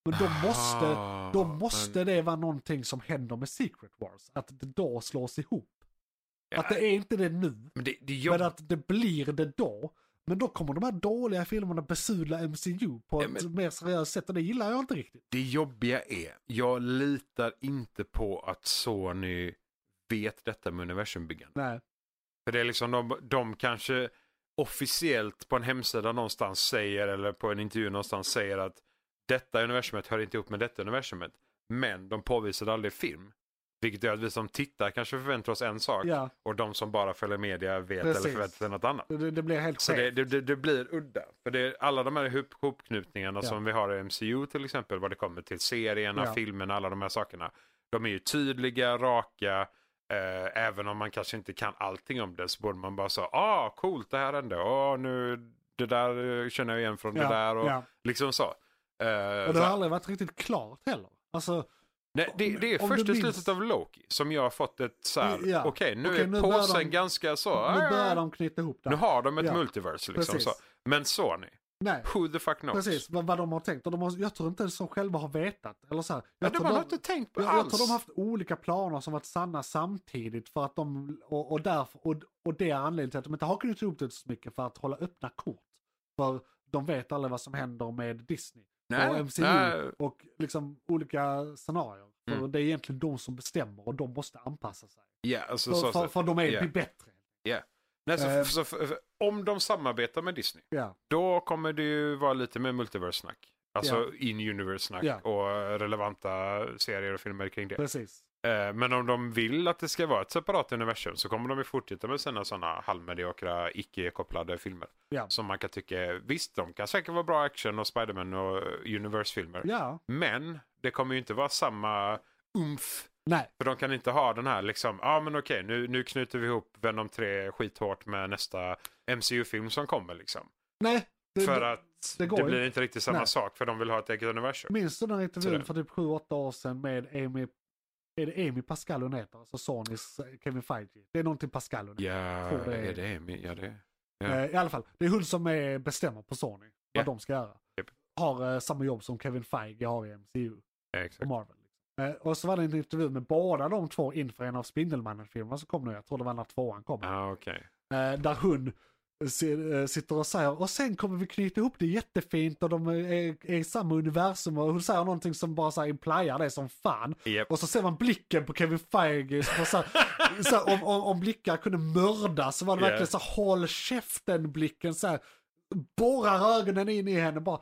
A: Men då måste,
C: Ah,
A: då
C: men-
A: måste det vara någonting som händer med Secret Wars. Att det då slås ihop.
C: Ja.
A: Att det är inte det nu.
C: Men det, det
A: Men
C: är jobbigt.
A: att det blir det då. Men då kommer de här dåliga filmerna besudla MCU på
C: Ja,
A: ett
C: men-
A: mer seriöst sätt och det gillar jag inte riktigt.
C: Det jobbiga är, jag litar inte på att Sony vet detta med universumbyggande.
A: Nej.
C: För det är liksom de, de kanske officiellt på en hemsida någonstans säger eller på en intervju någonstans säger att detta universumet hör inte ihop med detta universumet. Men de påvisar det aldrig i film. Vilket gör att vi som tittar kanske förväntar oss en sak
A: Ja,
C: och de som bara följer media vet
A: Precis.
C: eller förväntar sig något annat.
A: det, det blir helt
C: Så det,
A: skevt.
C: det, det, det blir udda. För det, alla de här hop- hopknutningarna
A: Ja.
C: som vi har i MCU till exempel, vad det kommer till serierna,
A: Ja.
C: filmerna, alla de här sakerna. De är ju tydliga, raka, eh, även om man kanske inte kan allting om det så borde man bara säga, ah coolt det här hände, ah nu det där eh, känner jag igen från
A: Ja,
C: det där och
A: ja.
C: liksom så. Eh,
A: Och det
C: så-
A: har aldrig varit riktigt klart heller. Alltså,
C: Nej, det, det är
A: Om du
C: först i
A: minns-
C: slutet av Loki som jag har fått ett så här,
A: Ja.
C: okej nu
A: Okej,
C: är
A: nu börjar
C: påsen
A: de-
C: ganska så,
A: nu
C: ah,
A: börjar de knyta ihop det.
C: nu
A: här.
C: har de ett
A: Ja.
C: multiverse liksom.
A: Precis.
C: Så. Men Sony,
A: Nej,
C: who the fuck knows?
A: precis vad, vad de har tänkt. Och de har, jag tror inte ens de själva har vetat. Eller så här.
C: Ja,
A: Jag,
C: de
A: tror
C: har
A: de,
C: inte tänkt på
A: jag,
C: alls.
A: jag tror de har haft olika planer som varit sanna samtidigt för att de, och, och, därför, och, och det är anledningen till att de inte har knutit ihop det så mycket för att hålla öppna kort. För de vet aldrig vad som händer med Disney. och MCU
C: nej.
A: och liksom olika scenarier. För
C: Mm.
A: det är egentligen de som bestämmer och de måste anpassa sig.
C: Ja, alltså,
A: För,
C: så,
A: för,
C: så.
A: för de är
C: ja.
A: yeah. bättre.
C: Nej, så,
A: eh,
C: så, för- för- om de samarbetar med Disney,
A: Ja,
C: då kommer det ju vara lite mer multiverse-snack. Alltså
A: Ja.
C: in-universe-snack
A: Ja.
C: och relevanta serier och filmer kring det.
A: precis.
C: Eh, Men om de vill att det ska vara ett separat universum så kommer de ju fortsätta med sina sådana halvmediokra, icke-kopplade filmer.
A: Ja.
C: Som man kan tycka, är- visst de kan säkert vara bra action och Spiderman och eh, universe-filmer.
A: Ja,
C: Men det kommer ju inte vara samma umf
A: nej,
C: För de kan inte ha den här liksom, ja ah, men okej nu, nu knyter vi ihop Venom 3 skithårt med nästa MCU-film som kommer liksom.
A: nej. Det,
C: för att
A: det
C: det,
A: går ju.
C: blir inte riktigt samma
A: Nej.
C: sak för de vill ha ett eget universum.
A: Minns du den här intervjun
C: Sådär.
A: för typ 7-8 år sedan med Amy, är det Amy Pascal hon heter? Alltså Sonys eh, Kevin Feige. Det är någonting Pascal hon heter.
C: Ja,
A: tror det är-
C: är det Amy? Ja, det är. Ja.
A: Eh, I alla fall, det är hon som är, bestämmer på Sony vad
C: Ja.
A: de ska göra.
C: Japp.
A: Har eh, samma jobb som Kevin Feige har i MCU.
C: Ja,
A: på
C: exakt.
A: Marvel. liksom. Eh, och så var det en intervju med båda de två inför en av Spindelmannen-filmerna som kom nu, jag tror det var när tvåan kom.
C: Ah, okej.
A: Eh, där hon si- eh, sitter och säger, och sen kommer vi knyta ihop det jättefint och de är, är i samma universum och hon säger någonting som bara så här implyar det som fan.
C: Japp.
A: Och så ser man blicken på Kevin Feige, som var så här, så här, om, om, om blickar kunde mördas så var det
C: Ja.
A: verkligen så här, håll käften-blicken så här, borrar ögonen in i henne bara,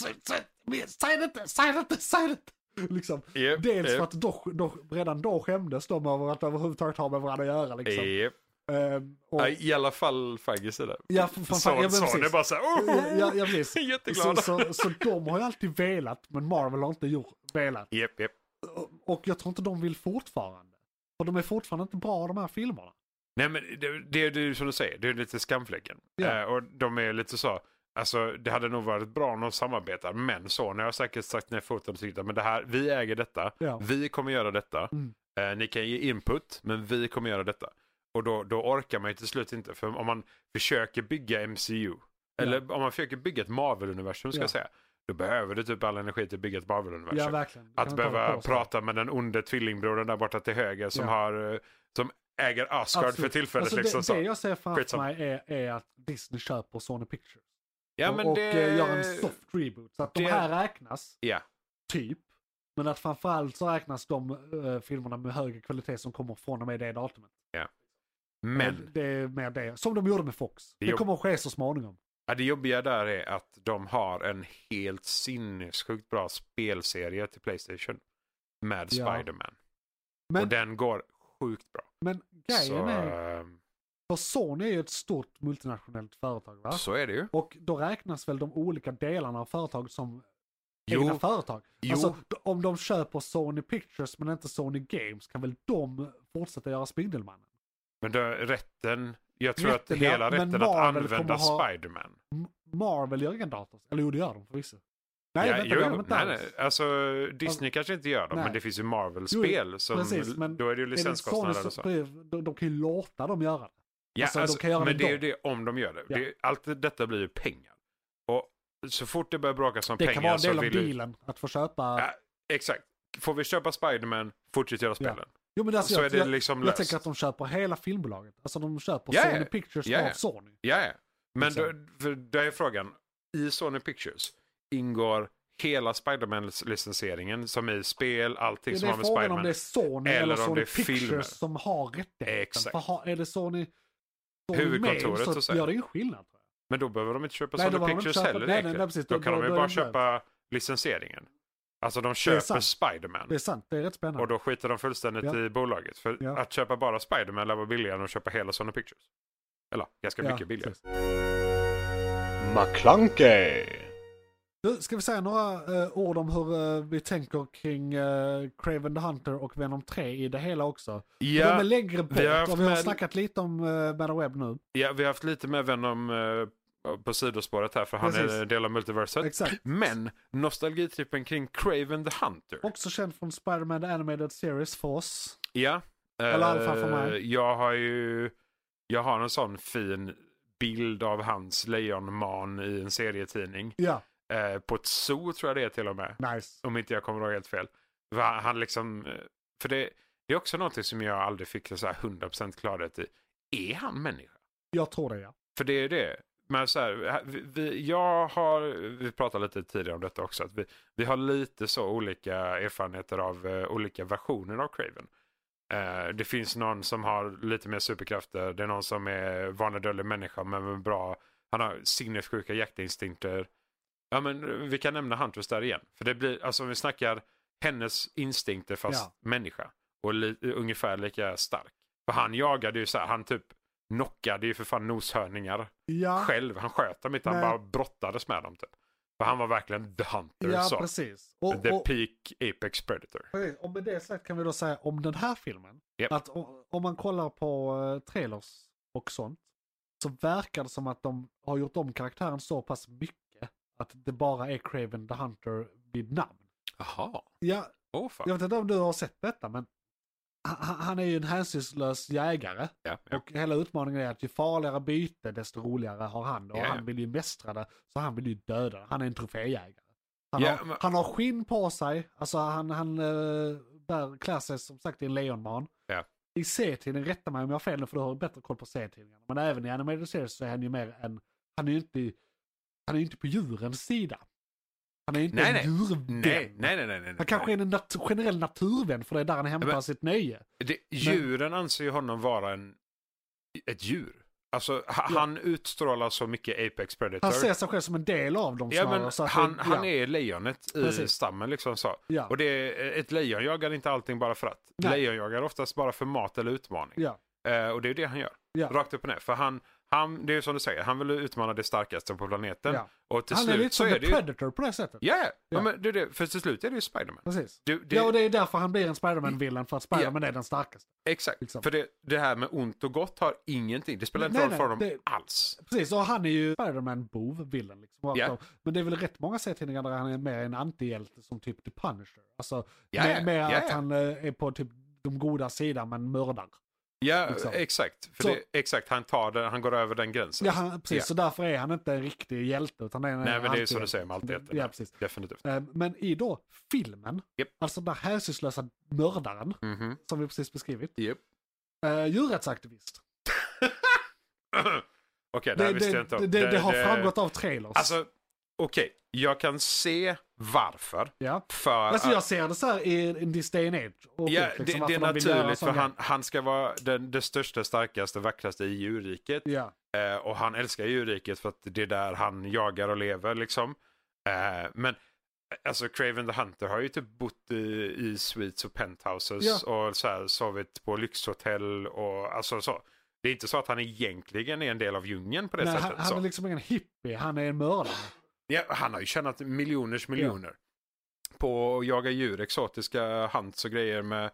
A: "Sä- sä- säg det inte, säg det inte, säg det inte. Liksom.
C: Japp,
A: Dels för
C: japp,
A: att då, då, redan då skämdes de över att överhuvudtaget ha med varandra att göra. Liksom.
C: japp. Eh.
A: Ehm, och,
C: Ja, I alla fall Fagges sida.
A: Ja, för- för-
C: Så,
A: ja, men
C: så det
A: precis.
C: är bara så här,
A: ja,
C: oh!
A: ja, ja, precis. så,
C: Jätteglada.
A: så, så de har ju alltid velat, men Marvel har inte gjort, velat.
C: Japp, japp.
A: Och- Och jag tror inte de vill fortfarande. För de är fortfarande inte bra de här filmerna.
C: Nej men det, det, det är ju som du säger, det är lite skamfläcken.
A: Ja.
C: Eh, och de är lite så, alltså det hade nog varit bra om de samarbetar, men så, nu har jag säkert sagt ner foten och tyckt att men det här, vi äger detta,
A: Ja.
C: vi kommer göra detta,
A: Mm.
C: eh, ni kan ge input, men vi kommer göra detta. Och då, då orkar man ju till slut inte, för om man försöker bygga MCU, eller om man försöker bygga ett Marvel-universum ska
A: Ja.
C: jag säga, då behöver du typ all energi till att bygga ett Marvel-universum.
A: Ja, verkligen. Det kan
C: Att
A: inte hålla
C: behöva
A: på så.
C: prata med den onde tvillingbrodern där borta till höger som
A: Ja.
C: har eh, som äger Asgard för
A: Absolut.
C: tillfället.
A: Alltså,
C: liksom,
A: det,
C: så.
A: det jag ser framför
C: Skitsamma.
A: mig är, är att Disney köper Sony Pictures.
C: ja,
A: och
C: men
A: och
C: det...
A: eh, gör en soft reboot. Så att de
C: det-
A: här räknas,
C: Ja.
A: typ. Men att framförallt så räknas de eh, filmerna med högre kvalitet som kommer från och med det datumet.
C: Men
A: Det är mer det. Som de gjorde med Fox.
C: Det
A: Det,
C: jobb-
A: kommer att ske så småningom.
C: Ja, det jobbiga där är att de har en helt sinnessjukt bra spelserie till Playstation. Med
A: Ja.
C: Spider-Man.
A: Men-
C: Och den går sjukt bra.
A: Men grejen
C: så,
A: är,
C: ehm,
A: för Sony är ju ett stort multinationellt företag va?
C: så är det ju.
A: Och då räknas väl de olika delarna av företaget som egna
C: Jo,
A: företag?
C: Jo.
A: Alltså d- om de köper Sony Pictures men inte Sony Games kan väl de fortsätta göra Spindelmannen?
C: men då, rätten. Jag tror
A: Rätten,
C: att
A: ja.
C: hela
A: Men
C: rätten att
A: Marvel
C: använda
A: kommer ha-
C: Spider-Man.
A: M- Marvel gör ingen dator. Eller jo det gör de förvisso. Nej
C: ja,
A: vänta
C: jo,
A: det gör de inte
C: nej,
A: alls.
C: nej. Alltså Disney kanske inte gör dem,
A: nej.
C: men det finns ju Marvel-spel. som,
A: precis, men
C: då är det ju
A: Är det Sony
C: licenskostnader
A: så-
C: och så.
A: prev- de, de kan ju låta dem göra det.
C: Ja,
A: Alltså, de kan göra
C: men
A: det
C: det är ju
A: ändå.
C: det om de gör det.
A: Ja.
C: det allt detta blir ju pengar. Och så fort det börjar bråkas om
A: Det
C: pengar
A: kan vara en del
C: så
A: av
C: vill ju-
A: dealen att få köpa.
C: Ja. Exakt. Får vi köpa Spider-Man, fortsätt göra spelen.
A: Jo men alltså,
C: Så
A: jag,
C: är det
A: jag,
C: liksom
A: jag
C: löst.
A: tänker att de köper hela filmbolaget. Alltså de köper
C: Ja, ja.
A: Sony Pictures
C: Ja, ja.
A: av Sony.
C: Ja, ja. Men då,
A: Exakt.
C: för där är frågan. I Sony Pictures ingår hela Spider-Man-licensieringen som är spel, allting
A: Ja, det
C: som
A: är
C: har med
A: frågan om
C: Spider-Man.
A: det är Sony eller,
C: eller om
A: Sony
C: det är
A: Pictures
C: filmer.
A: som har rättigheten.
C: Exakt.
A: För har, är det Sony, Sony
C: Huvudkontoret
A: med så,
C: och så.
A: gör det ingen skillnad. Tror jag.
C: Men då behöver de inte köpa
A: Nej, då
C: Sony
A: behöver de
C: Pictures
A: inte köpa-
C: heller
A: nej, nej,
C: egentligen.
A: nej, precis.
C: Då,
A: Då-
C: kan
A: då-
C: de ju
A: då är
C: bara
A: det
C: köpa licensieringen. Alltså de köper
A: sant.
C: Spider-Man.
A: Det är sant, det är rätt spännande.
C: Och då skiter de fullständigt
A: Ja.
C: i bolaget. För
A: Ja.
C: att köpa bara Spider-Man lär vara billigare än att köpa hela Sony Pictures. Eller ganska
A: Ja,
C: mycket billigare.
A: precis.
D: McClunkey,
A: Du, ska vi säga några eh, ord om hur eh, vi tänker kring eh, Craven the Hunter och Venom 3 i det hela också?
C: Ja.
A: De är längre bort
C: vi har haft
A: och vi har
C: med-
A: snackat lite om uh, Battle Web nu.
C: Ja, vi har haft lite med Venom eh, på sidospåret här för han
A: Precis.
C: är en del av multiverset.
A: Exakt.
C: Men nostalgitrippen kring Craven the Hunter.
A: Också känd från Spider-Man The Animated Series för oss.
C: Ja.
A: Eller i alla fall för
C: eh,
A: mig.
C: jag har ju jag har en sån fin bild av hans lejonman i en serietidning.
A: Ja,
C: Eh, på ett zoo tror jag det är till och med.
A: nice.
C: Om inte jag kommer ihåg helt fel. Va, han liksom, eh, för det, det är också någonting som jag aldrig fick så här 100% klarhet i. Är han människa?
A: Jag tror det ja.
C: För det är det. Men så här, vi- vi, jag har, vi pratade lite tidigare om detta också, att vi, vi har lite så olika erfarenheter av eh, olika versioner av Craven. Eh, det finns någon som har lite mer superkrafter, det är någon som är vanedödlig människa men med bra, han har sinnessjuka jaktinstinkter. Ja men vi kan nämna Huntress där igen. För det blir, alltså om vi snackar hennes instinkter fast människa och li, ungefär lika stark. För han jagade ju så här, han typ knockade ju för fan noshörningar
A: Ja,
C: själv. Han sköt dem inte, han
A: Nej.
C: bara brottades med dem typ. För han var verkligen the hunter
A: ja
C: så.
A: precis. Och,
C: The
A: och,
C: peak apex predator.
A: Precis, och med det sagt kan vi då säga om den här filmen.
C: Japp.
A: Att o- om man kollar på eh, trailers och sånt. Så verkar det som att de har gjort om karaktären så pass mycket. Att det bara är Craven the Hunter vid namn.
C: Jaha, Oh,
A: Ja,
C: åh fan.
A: jag vet inte om du har sett detta men. ha- ha- Han är ju en hänsynslös jägare.
C: Ja, ja.
A: Och hela utmaningen är att ju farligare byte desto roligare har han det. Och
C: Ja, ja.
A: han vill ju mästra det. Så han vill ju döda det. Han är en troféjägare. Han,
C: Ja,
A: har,
C: men-
A: han har skinn på sig. Alltså han, han eh, bär, klär sig som sagt i en lejonman.
C: Ja.
A: I serietidningen, rätta mig om jag har fel nu för du har bättre koll på serietidningarna. Men även i animated series så är han ju mer en, han är ju inte, han är ju inte på djurens sida. Han är ju inte
C: Nej,
A: en
C: nej.
A: djurvän.
C: Nej, nej, nej, nej. nej, nej.
A: Han kanske är en nat- generell naturvän för det är där han hämtar
C: Men-
A: sitt nöje.
C: det, djuren anser ju honom vara en, ett djur. Alltså ha- han utstrålar så mycket apex predator.
A: Han ser sig själv som en del av dem
C: Ja, men
A: så att det-
C: han, han
A: ja.
C: är lejonet i
A: Precis.
C: stammen liksom så.
A: Ja.
C: Och det är, ett lejon jagar inte allting bara för att.
A: Nej.
C: Lejon jagar oftast bara för mat eller utmaning.
A: Ja,
C: Eh, och det är det han gör.
A: Ja.
C: Rakt upp och ner. För han, han, det är ju som du säger, han vill utmana det starkaste på planeten.
A: ja.
C: Och till
A: Han är
C: slut
A: lite
C: så
A: som
C: är
A: The
C: det ju...
A: Predator på det sättet.
C: Ja, ja.
A: Ja.
C: ja. Men det är det. För till slut är det ju Spiderman.
A: Precis.
C: Du, det,
A: Ja, och det är därför han blir en Spiderman-villain, för att Spiderman är den starkaste.
C: Exakt.
A: liksom.
C: För det, det här med ont och gott har ingenting. Det spelar inte
A: Nej,
C: roll för
A: nej,
C: dem
A: det-
C: alls.
A: Precis, och han är ju Spiderman-bov, villain. Liksom, rakt
C: Ja.
A: av. Men det är väl rätt många serietidningar där han är mer en antihjälte som typ The Punisher. Alltså,
C: Ja,
A: mer, mer
C: ja,
A: att
C: ja.
A: han eh, är på typ de goda sidan, men mördar.
C: Ja,
A: liksom.
C: exakt. För
A: Så-
C: det, exakt, han tar det, han går över den gränsen.
A: Ja, han, precis,
C: Ja.
A: så därför är han inte en riktig hjälte, utan han är en
C: Nej, men det är ju som
A: antihjälte.
C: du säger med antihjälten.
A: Ja, precis.
C: Definitivt.
A: Eh, Men i då filmen,
C: Japp.
A: alltså den här hänsynslösa mördaren
C: Mhm.
A: som vi precis beskrivit,
C: Japp.
A: eh, djurrättsaktivist.
C: Okej, det här
A: Det, det,
C: visste jag
A: det,
C: inte
A: det,
C: om.
A: det har framgått av trailers.
C: Alltså, okej. Jag kan se varför.
A: ja.
C: För
A: alltså
C: att-
A: jag ser det så här i, in this day and age. Och
C: Ja,
A: skit,
C: det,
A: varför
C: det är
A: de liksom, vill göra
C: naturligt för
A: sån
C: han, han ska vara den, det största, starkaste, vackraste i djurriket.
A: grej. Ja.
C: Eh, och han älskar djurriket för att det är där han jagar och lever liksom. Eh, men alltså Craven the Hunter har ju typ bott i, i suites och penthouses
A: Ja.
C: och så här, sovit på lyxhotell och alltså så. Det är inte så att han egentligen är en del av djungeln på det
A: Nej, han,
C: sättet. så.
A: han är liksom ingen hippie, han är en mördare.
C: Ja, han har ju tjänat miljoners miljoner. På att jaga djur, exotiska hunts och grejer med.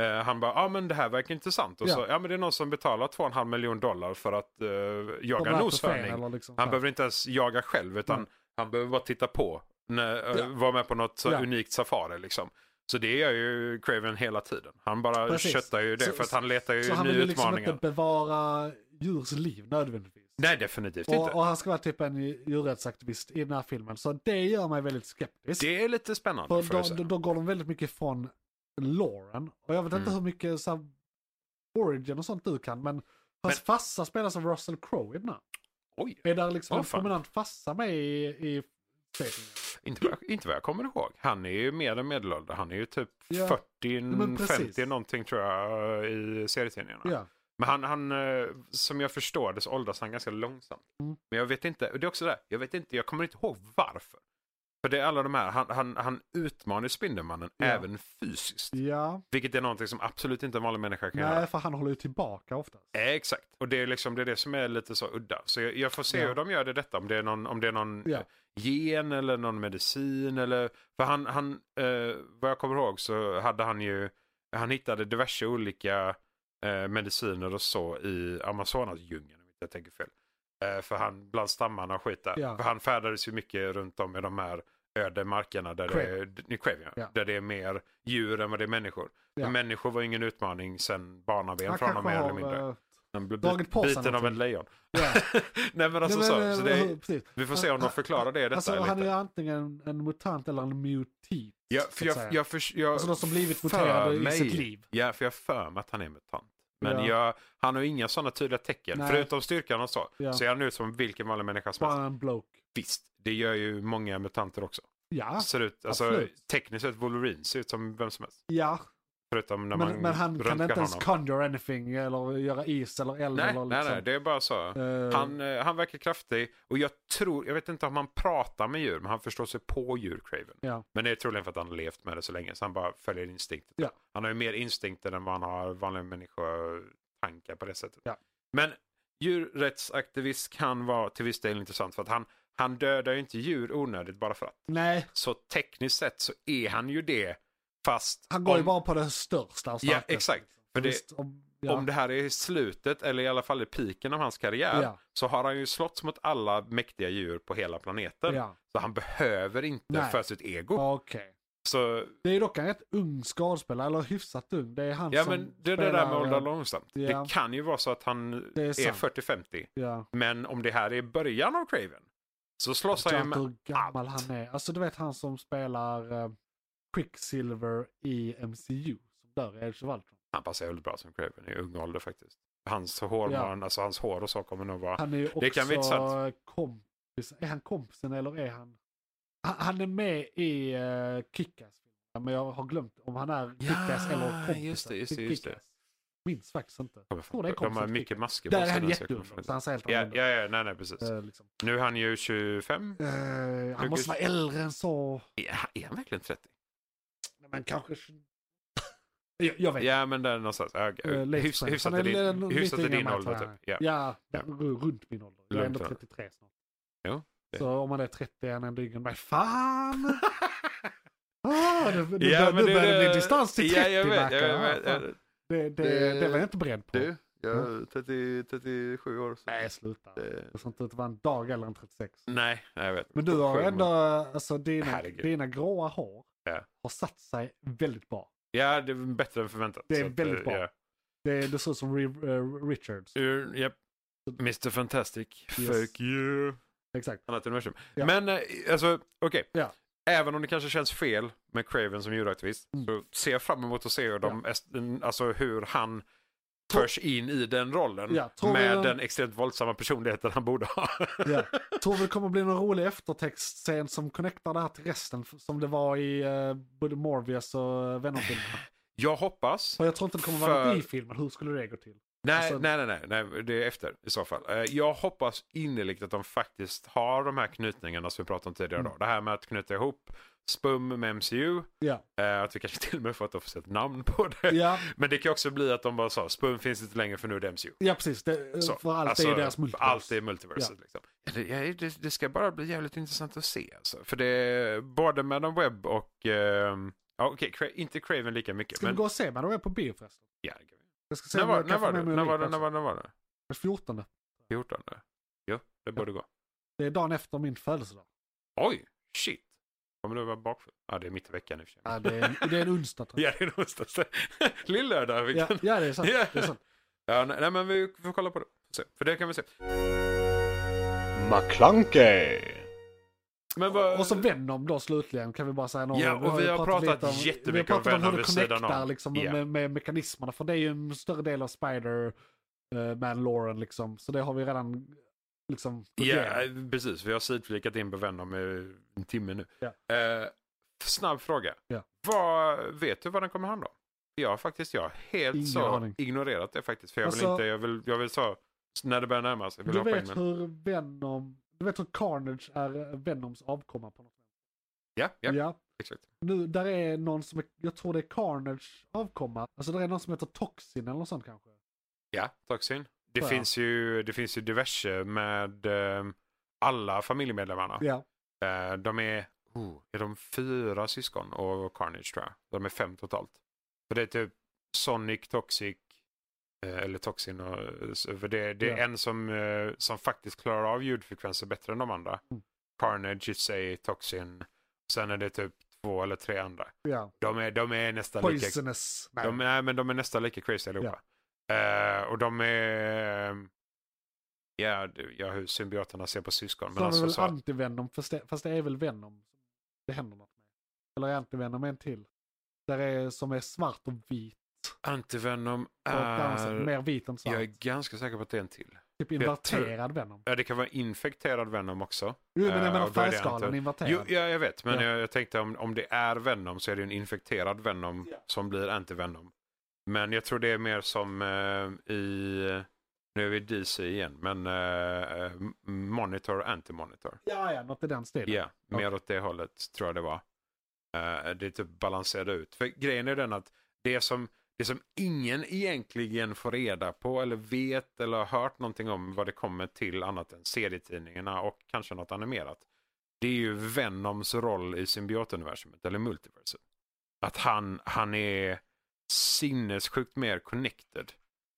C: Eh, han bara, ja ah, men det här verkar intressant. Och
A: Ja.
C: så, ja men det är någon som betalar 2,5 miljon dollar för att eh,
A: De
C: jaga
A: här
C: noshörning.
A: troféerna eller liksom så
C: Han
A: här.
C: behöver inte ens jaga själv utan
A: Mm.
C: han behöver bara titta på. När, eh,
A: Ja.
C: Vara med på något så
A: Ja.
C: unikt safari liksom. Så det gör ju Craven hela tiden. Han bara
A: Precis.
C: köttar ju det
A: Så-
C: för att han letar ju
A: Så han
C: nya
A: vill ju liksom
C: utmaningar.
A: inte bevara djurs liv nödvändigtvis.
C: Nej definitivt inte.
A: Och, och han ska vara typ en djurrättsaktivist i den här filmen. Så det gör mig väldigt skeptisk.
C: Det är lite spännande
A: För
C: får jag
A: då,
C: säga.
A: då, då går de väldigt mycket från Lauren. Och jag vet inte
C: Mm.
A: hur mycket så här, origin och sånt du kan, men hans farsa spelas av Russell Crowe i den här.
C: Oj,
A: Är där liksom
C: Åh,
A: en
C: fan.
A: prominent farsa med i... i serien?
C: Inte vad, jag, inte vad jag kommer ihåg. Han är ju mer än medelålder. Han är ju typ
A: Ja.
C: 40,
A: men precis.
C: 50 någonting tror jag i serietidningarna.
A: Ja.
C: Men han, han, eh, som jag förstår det så åldras han ganska långsamt.
A: Mm.
C: Men jag vet inte, och det är också det, här, jag vet inte, jag kommer inte ihåg varför. För det är alla de här, han, han, han utmanar ju Spindelmannen
A: Ja.
C: även fysiskt.
A: ja.
C: Vilket är någonting som absolut inte en vanlig människa kan göra.
A: Nej, för han håller ju tillbaka oftast.
C: Eh, Exakt, och det är, liksom, det är det som är lite så udda. Så jag, jag får se
A: Ja.
C: hur de gör det detta, om det är någon, om det är någon
A: Ja.
C: eh, gen eller någon medicin. Eller, för han, han eh, vad jag kommer ihåg så hade han ju, han hittade diverse olika eh, mediciner och så i Amazonasdjungeln, om inte jag tänker fel. Eh, för han, bland stammarna och skit där.
A: Ja.
C: För han färdades ju mycket runt om i de här öde markerna där, det, är, d- Craven, ja.
A: Ja.
C: där det är mer djur än vad det är människor.
A: Ja.
C: Men människor var ingen utmaning sen barnaben
A: Han
C: från honom
A: kanske
C: mer eller
A: har...
C: mindre.
A: eh,
C: Den blir
A: Dragit
C: bit,
A: på sig
C: biten av
A: någonting.
C: en lejon.
A: Ja.
C: Nej men alltså
A: Nej,
C: så.
A: men, eh,
C: så det är,
A: precis.
C: vi får se om de förklarar det i detta
A: Alltså, han är
C: lite.
A: antingen en, en mutant eller en mutit.
C: Ja,
A: så
C: för
A: att
C: jag,
A: säga.
C: jag, för, jag
A: alltså de som blivit
C: för
A: muterade i
C: mig-
A: sitt liv.
C: Ja, för jag har för mig att han är mutant. Men
A: Ja.
C: jag, han har inga sådana tydliga tecken.
A: Nej.
C: Förutom styrkan och så.
A: Ja.
C: Så är han ut som vilken vanlig människa som helst.
A: Bara en bloke.
C: Visst, det gör ju många mutanter också.
A: Ja,
C: Ser ut, alltså,
A: absolut.
C: tekniskt sett Wolverine ser ut som vem som helst.
A: ja.
C: Förutom när man
A: Men, men han kan
C: röntgar
A: inte ens
C: honom.
A: conjure anything eller göra is eller eld.
C: Nej,
A: eller liksom.
C: nej, nej, det är bara så.
A: Eh,
C: Han, eh, han verkar kraftig och jag tror, jag vet inte om han pratar med djur, men han förstår sig på djur, Craven.
A: Ja.
C: Men det är troligen för att han har levt med det så länge, så han bara följer instinkten.
A: Ja.
C: Han har ju mer instinkter än vad han har vanliga människotankar på det sättet.
A: Ja.
C: Men djurrättsaktivist kan vara till viss del intressant för att han, han dödar ju inte djur onödigt bara för att.
A: nej,
C: Så tekniskt sett så är han ju det, fast
A: han går
C: om,
A: ju bara på det största och
C: Ja,
A: starkaste.
C: exakt. För det-
A: Visst, om, ja,
C: om det här är slutet, eller i alla fall i piken av hans karriär,
A: Ja.
C: så har han ju slått mot alla mäktiga djur på hela planeten.
A: ja.
C: Så han behöver inte
A: Nej.
C: för sitt ego.
A: Okej.
C: Så,
A: Det är dock en rätt ung skådespelare, eller hyfsat ung. Det är han
C: ja
A: som
C: men det är det
A: spelar,
C: där med åldra
A: eh,
C: långsamt.
A: ja.
C: Det kan ju vara så att han
A: Det är
C: är,
A: sant.
C: 40-50.
A: Ja.
C: Men om det här är början av Craven så slåss han ju
A: Jack,
C: med...
A: hur gammal
C: allt.
A: han är. Alltså du vet han som spelar eh, Quicksilver i MCU. Som dör i Age of Ultron.
C: Han passar väldigt bra som Craven i ung ålder faktiskt. Hans hår,
A: Ja.
C: man, alltså, hans hår och så kommer nog vara...
A: Han är ju också
C: Det kan bli intressant.
A: kompis. Är han kompisen eller är han... Han, han är med i uh, Kickass. Men jag har glömt om han är
C: Ja,
A: Kickass eller kompisen.
C: just det, just det,
A: till
C: just det.
A: Kick-Ass. Minns faktiskt inte.
C: Kommer
A: tror det är
C: fan- De har
A: konstigt.
C: mycket masker på
A: Där är
C: sig
A: han
C: nu, så jag
A: jätteung.
C: kommer
A: så
C: fan-
A: Han ser helt
C: Ja,
A: annorlunda
C: ja, ja, nej, nej, precis.
A: ut. Eh, liksom.
C: Nu är han ju 25.
A: Eh, han
C: Hur-
A: måste vara äldre än så.
C: Ja, är han verkligen 30?
A: Nej, Men kanske... jag, jag vet
C: Ja, men där någonstans. Ja, okej.
A: Eh, late
C: Hyfs,
A: twenties.
C: hyfsat
A: Han
C: i
A: är
C: din,
A: lite
C: hyfsat i
A: yngre än
C: din
A: mig,
C: ålder,
A: tror jag.
C: typ. Ja.
A: Ja,
C: Ja.
A: r- runt min ålder. Jag är ändå
C: Lugnt, ja.
A: 33 snart.
C: Jo, det-
A: Så om man är 30 är han ändå yngre än mig. Fan! Ah, det, det,
C: Ja,
A: bör-
C: men
A: nu
C: det-
A: börjar det
C: det-
A: bli distans till 30
C: Ja, jag vet.
A: märker
C: Jag
A: jag.
C: vet,
A: Fan,
C: jag vet.
A: det, det, det var jag inte beredd på.
C: Du, jag är 30, 37 år. Så.
A: Nej, sluta.
C: Det-
A: Det ser inte ut att vara en dag äldre än 36.
C: Nej, nej, jag vet.
A: Men du har
C: Sjukt.
A: ändå, alltså dina,
C: Herregud.
A: dina gråa hår
C: Ja.
A: har satt sig väldigt bra.
C: Ja, det är bättre än förväntat.
A: Det är
C: så att,
A: väldigt
C: eh,
A: bra.
C: Ja.
A: Det, det ser ut som Re- eh, Richards.
C: Ur, japp. Mr Fantastic.
A: Yes.
C: Fuck you.
A: Exakt.
C: Annat universum.
A: Ja.
C: Men eh, alltså, okej.
A: Ja.
C: Även om det kanske känns fel med Craven som djuraktivist
A: Mm.
C: så ser jag fram emot att se hur, de, alltså, hur han förs in i den rollen.
A: Ja, tror vi
C: med
A: den-
C: den extremt våldsamma personligheten han borde ha.
A: Ja. Tror vi det kommer bli någon rolig eftertextscen som connectar det här till resten som det var i eh, både Morbius och eh, Venom-filmerna.
C: Jag hoppas.
A: För jag tror inte det kommer vara något
C: För-
A: i filmen, hur skulle det gå till?
C: Nej,
A: Alltså-
C: nej, nej, nej, nej, det är efter i så fall. Eh, Jag hoppas innerligt att de faktiskt har de här knutningarna som vi pratade om tidigare
A: Mm.
C: idag. Det här med att knyta ihop SPUM med MCU.
A: Ja,
C: eh, Att vi kanske till och med får att de får se ett namn på det.
A: ja,
C: Men det kan också bli att de bara sa SPUM finns inte längre för nu är det MCU.
A: ja precis. Det, eh,
C: Så, alltså,
A: för allt är ju deras multiverse.
C: Allt är multiverset. Liksom. Ja, det, ja, det, det ska bara bli jävligt intressant att se. Alltså. För det är både Madam Webb och... ehm, ja, okej, Cra- inte Craven lika mycket.
A: Ska vi
C: men,
A: gå och se men de är på bio förresten?
C: ja,
A: Jag ska se
C: när,
A: om jag
C: var,
A: kan
C: när,
A: få
C: var det?
A: med mig
C: när var
A: Ulrika
C: det? När
A: också.
C: var det? När var det?
A: Den 14.
C: 14? Jo, det borde gå.
A: Det är dagen efter min födelsedag.
C: Oj, shit. Kommer du vara bakfull? Ja, det är mitt i veckan i och för sig.
A: Ja, det, är, det är en onsdag tror jag.
C: Ja, det är någonstans. Lill-lördag.
A: Ja,
C: vilken-
A: ja, det är sant.
C: Ja.
A: Det är sant.
C: Ja, nej, nej, men vi får kolla på det. Se, För det kan vi se.
D: McClunkey.
C: Men vad...
A: Och så Venom då slutligen kan vi bara säga något
C: Ja,
A: om.
C: och vi har pratat
A: lite
C: jättemycket
A: vi har pratat
C: om
A: om hur det
C: Venom vid sidan
A: connectar
C: om.
A: liksom,
C: Ja.
A: med, med mekanismerna. För det är ju en större del av spider eh, man loren liksom. Så det har vi redan liksom gått
C: Ja,
A: igenom.
C: precis. Vi har sidflikat in på Venom i en timme nu.
A: Ja.
C: Eh, snabb fråga.
A: Ja.
C: Vad, vet du vad den kommer handla om? Jag har faktiskt jag har helt
A: Ingen
C: så
A: aning.
C: ignorerat det faktiskt. För jag
A: Alltså-
C: vill inte, jag vill, jag vill så, när det börjar närma sig, vill
A: Du
C: jag hoppa in
A: vet
C: med.
A: hur Venom, du vet hur Carnage är eh, Venoms avkomma på något sätt.
C: Ja, ja,
A: ja.
C: exakt.
A: Nu, där är någon som, är, jag tror det är Carnage avkomma. Alltså där är någon som heter Toxin eller något sånt kanske.
C: Ja, toxin. Det,
A: Ja.
C: finns ju, det finns ju diverse med ehm, alla familjemedlemmarna.
A: Ja,
C: Eh, de är, oh, är de fyra syskon och Carnage tror jag. De är fem totalt. För det är typ Sonic, Toxic, eh, eller Toxin och eh, så- för det, det är
A: Ja.
C: en som, eh, som faktiskt klarar av ljudfrekvenser bättre än de andra.
A: Mm.
C: Carnage i sig, Toxin. Sen är det typ två eller tre andra.
A: ja.
C: De är, de är nästan lika
A: Poisonous. Nej.
C: de, nej, men de är nästan lika crazy allihopa. Eh, och de är... ehm, Ja, det- ja, hur symbioterna ser på syskon. Men
A: Så har vi
C: alltså,
A: väl
C: så,
A: antivenom, fast det, fast det är väl venom det händer något med. Eller är antivenom en till? Där är, som är svart och vit.
C: antivenom
A: Och dansar,
C: är...
A: mer vit än svart.
C: Eh, Jag är ganska säker på att det är en till.
A: typ inverterad venom.
C: Ja, det kan vara infekterad Venom också.
A: Jo, men jag
C: Eh,
A: menar
C: och då är det
A: färgskalan
C: anti-
A: inverterad.
C: Jo, ja, jag vet. Men
A: Ja.
C: jag, jag tänkte om, om det är Venom så är det ju en infekterad Venom
A: Ja.
C: som blir antivenom. Men jag tror det är mer som eh, i... Nu är vi i DC igen, men eh, eh, Monitor, Anti-Monitor.
A: Ja, ja, något i den stilen.
C: Ja,
A: Ja.
C: mer åt det hållet tror jag det var. Eh, det är typ balanserade ut. För grejen är den att det som, det som ingen egentligen får reda på eller vet eller har hört någonting om vad det kommer till annat än serietidningarna och kanske något animerat. Det är ju Venoms roll i symbiotuniversumet eller multiverset. Att han, han är sinnessjukt mer connected.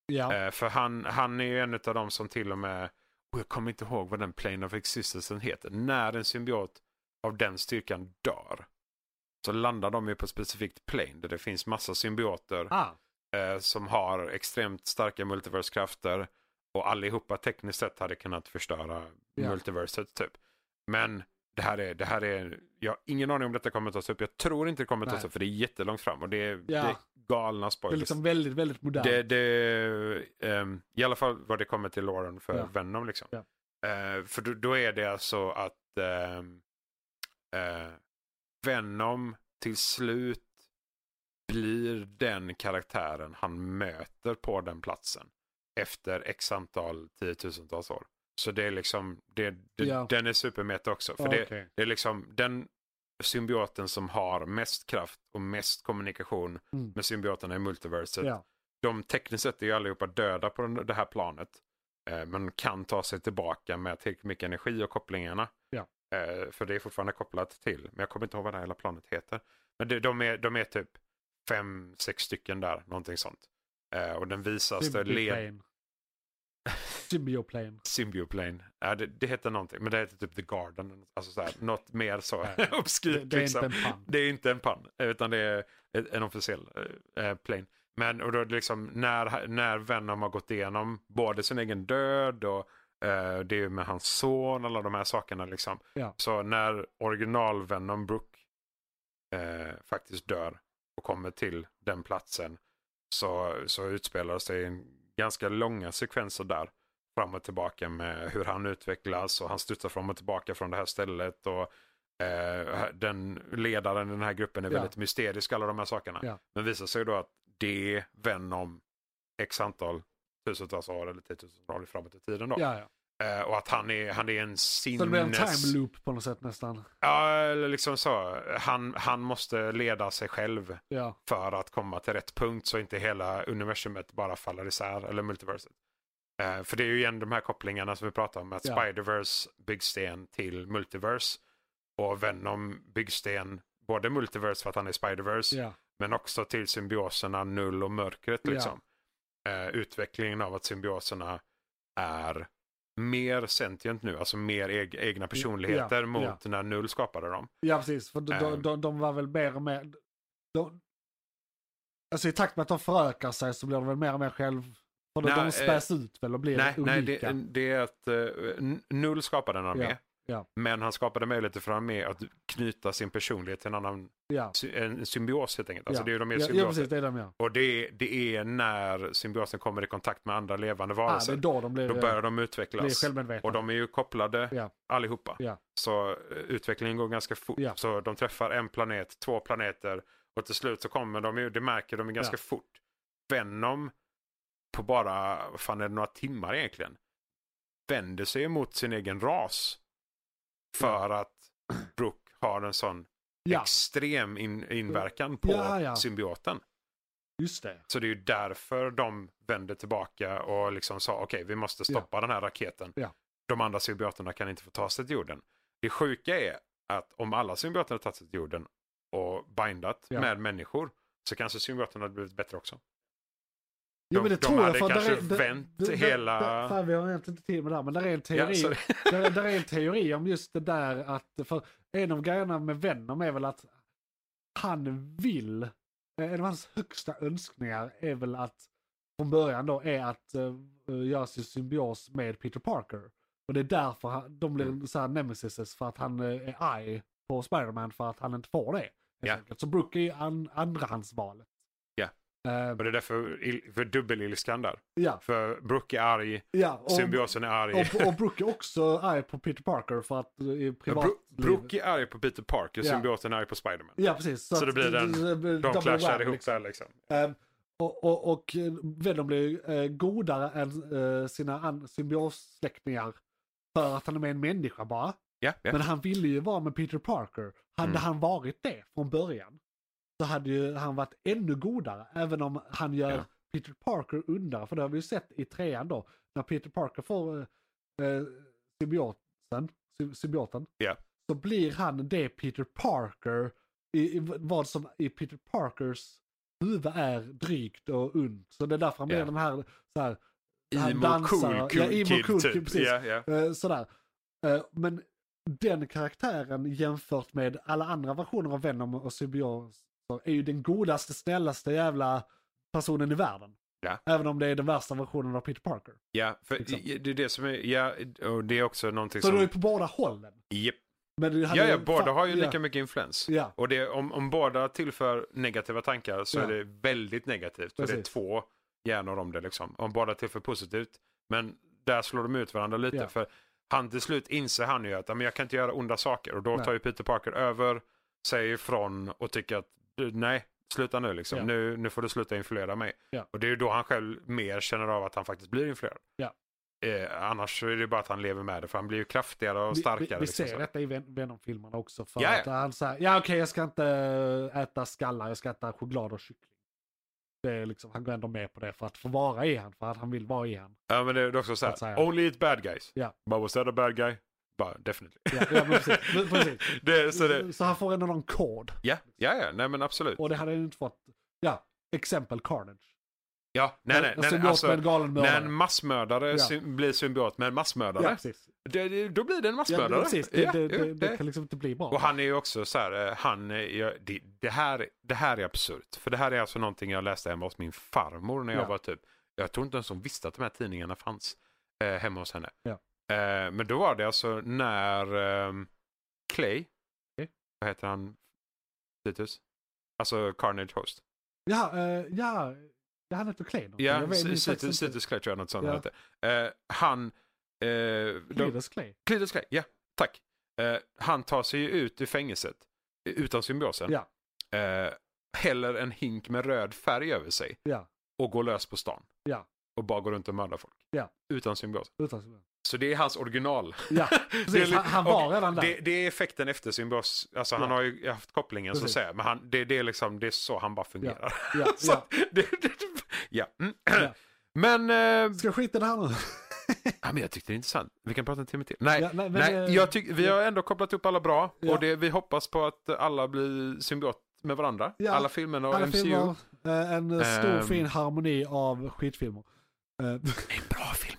A: Ja,
C: Eh, för han, han är ju en av dem som till och med, och jag kommer inte ihåg vad den plane of existence heter, när en symbiot av den styrkan dör så landar de ju på ett specifikt plane där det finns massa symbioter
A: ah,
C: eh, som har extremt starka multiverskrafter och allihopa tekniskt sett hade kunnat förstöra
A: Ja.
C: multiverset typ. Men det här är, det här är, jag har ingen aning om detta kommer tas upp. Jag tror inte det kommer tas
A: Nej.
C: upp för det är jättelångt fram och det är,
A: Ja.
C: det är galna
A: det är
C: spoilers.
A: liksom väldigt, väldigt modernt.
C: Det, det, ehm, I alla fall vad det kommer till Lauren för
A: Ja.
C: Venom. Liksom.
A: Ja.
C: Eh, för då, då är det alltså att ehm, eh, Venom till slut blir den karaktären han möter på den platsen efter x antal tiotusentals år. Så det är liksom, det, det,
A: Ja.
C: den är supermeta också. För
A: Ja,
C: det,
A: okej.
C: det är liksom den symbioten som har mest kraft och mest kommunikation
A: Mm.
C: med symbioterna i multiverset.
A: Ja.
C: De tekniskt sett är ju allihopa döda på den- det här planet. eh, Men kan ta sig tillbaka med tillräckligt mycket energi och kopplingarna.
A: Ja.
C: Eh, För det är fortfarande kopplat till, men jag kommer inte ihåg vad det här hela planet heter. Men det, de, är, de är typ fem, sex stycken där, någonting sånt. Eh, Och den visaste led...
A: Symbioplane. Symbioplane.
C: Symbioplane. Ja, det, det heter någonting, men det heter typ The Garden. Alltså så här, något mer så
A: Ja.
C: obskyrt.
A: Det, det är
C: liksom.
A: inte en pan.
C: Det är inte en pann, utan det är ett- en officiell eh, eh, plane. Men och då är det liksom, när, när Venom har gått igenom både sin egen död och eh, det är ju med hans son, alla de här sakerna. Liksom.
A: Ja.
C: Så när original Venom Brook eh, faktiskt dör och kommer till den platsen så, så utspelar sig en ganska långa sekvenser där. Fram och tillbaka med hur han utvecklas och han studsar fram och tillbaka från det här stället. Och eh, den ledaren i den här gruppen är
A: Ja.
C: väldigt mysterisk, alla de här sakerna.
A: Ja.
C: Men visar sig då att det är Venom x antal tusentals år eller tiotusentals år framåt i tiden då.
A: Ja, ja.
C: Eh, och att han är, han är en
A: Så det blir en
C: sinnes...
A: time loop på något sätt nästan.
C: Ja, eller liksom så. Han, han måste leda sig själv
A: Ja,
C: för att komma till rätt punkt så inte hela universumet bara faller isär, eller multiverset. Eh, för det är ju igen de här kopplingarna som vi pratar om, att
A: Ja.
C: Spider-Verse byggsten till multiverse och Venom byggsten både multiverse för att han är Spider-Verse
A: ja.
C: men också till symbioserna null och mörkret.
A: Ja.
C: Liksom. Eh, utvecklingen av att symbioserna är mer sentient nu, alltså mer eg- egna personligheter
A: ja.
C: mot när null skapade dem.
A: Ja, precis. För de, de,
C: Ehm.
A: de, de var väl mer och mer... De, alltså i takt med att de förökar sig så blir de väl mer och mer själv... För de-
C: Nej, eh,
A: de späs ut väl och blir
C: nej,
A: olika.
C: nej det, det är att eh, n- null skapade en armé.
A: Ja, ja.
C: Men han skapade möjligheter för en armé att knyta sin personlighet till en annan
A: ja,
C: sy- en symbios helt enkelt. Alltså
A: ja.
C: det är ju de är
A: ja, ja,
C: symbioser.
A: precis. Det är de Ah, ja.
C: och det, det är när symbiosen kommer i kontakt med andra levande
A: Ah, det
C: varelser.
A: är då de blir,
C: då börjar de
A: blir
C: utvecklas.
A: självmedvetna.
C: Och de är ju kopplade
A: Ja.
C: allihopa.
A: Ja.
C: Så eh, utvecklingen går ganska fort.
A: Ja.
C: Så de träffar en planet, två planeter och till slut så kommer de ju, det märker de ju ganska
A: Ja.
C: fort. Venom på bara, vad fan är det, några timmar egentligen. Vänder sig emot sin egen ras. För att Brooke har en sån
A: ja,
C: extrem in, inverkan på
A: Ja, ja.
C: symbioten.
A: just det.
C: Så det är ju därför de vände tillbaka och liksom sa okej vi måste stoppa den här raketen.
A: Ja.
C: De andra symbioterna kan inte få ta sig till jorden. Det sjuka är att om alla symbioter hade tagit sig till jorden och bindat
A: Ja.
C: med människor så kanske symbioterna hade blivit bättre också.
A: Jo,
C: De-
A: men det
C: de
A: tror jag.
C: hade
A: För
C: kanske
A: där är- där-
C: vänt
A: där- där-
C: hela-
A: där- Fan, vi har egentligen inte tid med det här, men där är en
C: Ja,
A: teori.
C: så-
A: där, där är en teori om just det där att, för en av grejerna med Venom är väl att han vill, eh, en av hans högsta önskningar är väl att från början då är att uh, göra sin symbios med Peter Parker. Och det är därför han, de blir
C: Mm.
A: så här nemesis för att han eh, är arg på Spiderman för att han inte får det. helt
C: Ja.
A: enkelt. Så Brooke är ju an, andrahandsvalet.
C: Ja.
A: Eh,
C: och det är därför il- för dubbelilskan där.
A: ja,
C: För Brooke är arg,
A: ja. Och,
C: symbiosen är arg.
A: och, och Brooke är också arg på Peter Parker för att eh, i
C: Men
A: privatliv...
C: Bro- Brooke är arg på Peter Parker,
A: Ja.
C: symbioten är arg på Spiderman.
A: Ja, precis.
C: Så det
A: att
C: blir den-
A: det blir
C: De
A: double
C: clashar
A: whammy,
C: ihop
A: liksom.
C: där liksom.
A: Ehm, och, och, och eh, Venom blir ju, eh, godare än eh, sina an- symbiossläktingar för att han är med en människa bara.
C: Ja, ja.
A: Men han ville ju vara med Peter Parker. Hade
C: Mm.
A: han varit det från början så hade ju han varit ännu godare. Även om han gör
C: Ja.
A: Peter Parker undrar. För det har vi ju sett i trean då. När Peter Parker får eh, eh, symbioten, sy- symbioten
C: Ja.
A: så blir han det Peter Parker, i, i, vad som i Peter Parkers huvud är drygt och ont. Så det är därför han blir
C: Ja.
A: den här, så här han
C: Emo
A: dansar-
C: cool,
A: ja,
C: cool
A: emo
C: kid
A: cool kid,
C: typ.
A: precis.
C: Ja, ja.
A: Eh, sådär. Eh, men den karaktären jämfört med alla andra versioner av Venom och symbioser är ju den godaste, snällaste jävla personen i världen.
C: Ja.
A: Även om det är den värsta versionen av Peter Parker.
C: Ja, för
A: Liksom.
C: i- det är det som är, ja, och det är också någonting
A: Så
C: som...
A: du är på båda hållen.
C: Japp.
A: Men du hade
C: Liksom- Ja, ja,
A: ju-
C: båda
A: fan-
C: har ju
A: ja,
C: lika mycket influens.
A: Ja,
C: Och det, om, om båda tillför negativa tankar så
A: Ja.
C: är det väldigt negativt. För det är
A: Precis.
C: två hjärnor om det liksom. Om båda tillför positivt. Men där slår de ut varandra lite.
A: Ja.
C: För han till slut inser han ju att "Ja, men jag kan inte göra onda saker. Och då
A: Nej.
C: tar ju Peter Parker över, säger ifrån och tycker att "Du, nej, sluta nu liksom.
A: Ja.
C: Nu, nu får du sluta influera mig.
A: Ja.
C: Och det är ju då han själv mer känner av att han faktiskt blir influerad.
A: Ja.
C: Eh, annars så är det bara att han lever med det. För han blir ju kraftigare och
A: vi,
C: starkare.
A: vi, vi
C: liksom,
A: ser
C: så.
A: detta i Ven- Venom-filmerna också. För
C: Ja, ja.
A: att han säger, ja okej jag ska inte äta skallar, jag ska äta choklad och kyckling. Det är liksom, han går ändå med på det för att få vara i han, för att han vill vara i han.
C: Ja men det är också så
A: Att säga.
C: här, only eat bad guys.
A: Ja.
C: Bara was that a bad guy? Bara definitely.
A: Ja, ja, men precis. Men precis.
C: det, så det,
A: Så han får ändå någon kod.
C: ja, ja, ja, nej men absolut.
A: Och det hade han ju inte fått, ja, exempel Carnage.
C: Ja, nej nej. nej,
A: Symbiot
C: nej alltså,
A: med en galen
C: när en
A: mördare.
C: massmördare
A: Ja.
C: sy- blir symbiot med en
A: Ja,
C: massmördare,
A: precis.
C: det, det, då blir det en
A: Ja,
C: massmördare.
A: det, precis. Det,
C: Ja,
A: det,
C: jo,
A: det, det kan liksom inte bli bra.
C: Och han är ju också så här, eh, han, är- jag- det, det, här, det här är absurt. För det här är alltså någonting jag läste hemma hos min farmor när jag
A: Ja.
C: var typ, jag tror inte ens hon visste att de här tidningarna fanns eh, hemma hos henne.
A: Ja.
C: Eh, men då var det alltså när ehm, Clay,
A: Okej.
C: vad heter han, Titus? Alltså Carnage Host.
A: Ja, eh, ja, Det han hette Klein.
C: Ja,
A: Jag vet- jag minns faktiskt inte.
C: Citus Clay tror jag något sånt
A: Ja.
C: han hette. Eh, han... Eh, de-
A: Cletus Clay.
C: Cletus Clay, ja. Tack. Eh, han tar sig ju ut ur fängelset eh, utan symbiosen.
A: Ja.
C: Eh, häller en hink med röd färg över sig
A: Ja,
C: och går lös på stan.
A: Ja.
C: Och bara går runt och mördar folk.
A: Ja.
C: Utan symbios.
A: utan symbol.
C: Så det är hans original.
A: Ja,
C: Det är
A: precis.
C: lite-
A: Han, han var
C: och
A: redan där.
C: Det, det är effekten efter symbios. Alltså han
A: Ja.
C: har ju haft kopplingen så att
A: Precis.
C: säga. Men han, det, det, är liksom, det är så han bara fungerar.
A: Ja,
C: så
A: ja.
C: att Det, det, ja. Mm.
A: Ja.
C: Men, eh,
A: Ska jag skita i det här nu?
C: ja, men jag tyckte det är intressant. Vi kan prata en timme till. Nej,
A: Ja, nej, men,
C: nej
A: eh,
C: jag tyck, vi har ändå kopplat upp alla bra.
A: Ja.
C: Och det, vi hoppas på att alla blir symbiot med varandra.
A: Ja.
C: Alla filmerna och
A: Alla
C: MCU.
A: filmer, eh, en eh, stor
C: Ehm.
A: fin harmoni av skitfilmer. Eh,
C: Det är en bra film.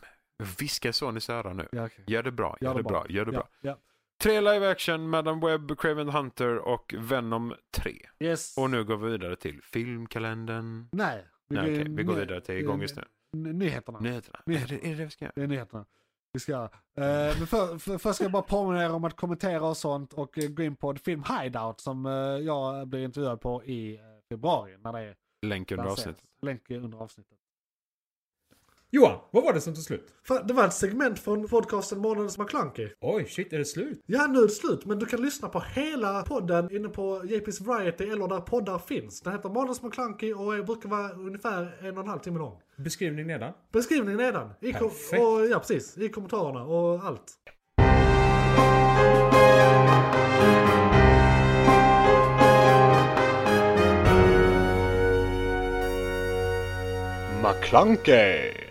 C: Viska Sonys öra nu.
A: ja, okej.
C: Gör det bra, gör, det bra. gör det bra.
A: Ja,
C: Tre live action, Madam Web, Craven the Hunter och Venom 3.
A: ja. Yes.
C: Och nu går vi vidare till filmkalendern.
A: Nej.
C: Nej,
A: går-
C: okej, vi går
A: nej,
C: vidare till igång just nu.
A: n- Nyheterna.
C: Nyheterna. Är
A: Nyheterna.
C: det, är det det vi ska göra?
A: Det är nyheterna. Vi ska, eh, men för, för, först ska jag bara påminna er om att kommentera och sånt och eh, gå in på film Hideout som eh, jag blir intervjuad på i eh, februari när det är
C: Länk under
A: lanseras.
C: avsnittet.
A: Länk under avsnittet.
B: Johan, vad var det som tog slut?
A: Det var ett segment från podcasten Månadens McKlunky.
B: Oj, shit, är det slut?
A: Ja, nu är det slut, men du kan lyssna på hela podden inne på JP's Variety eller där poddar finns. Den heter Månadens McKlunky och är- brukar vara ungefär en och en halv timme lång.
B: Beskrivning nedan.
A: Beskrivningen nedan. I kom-
B: Perfekt.
A: och, ja, precis. I kommentarerna och allt.
D: McClunkey!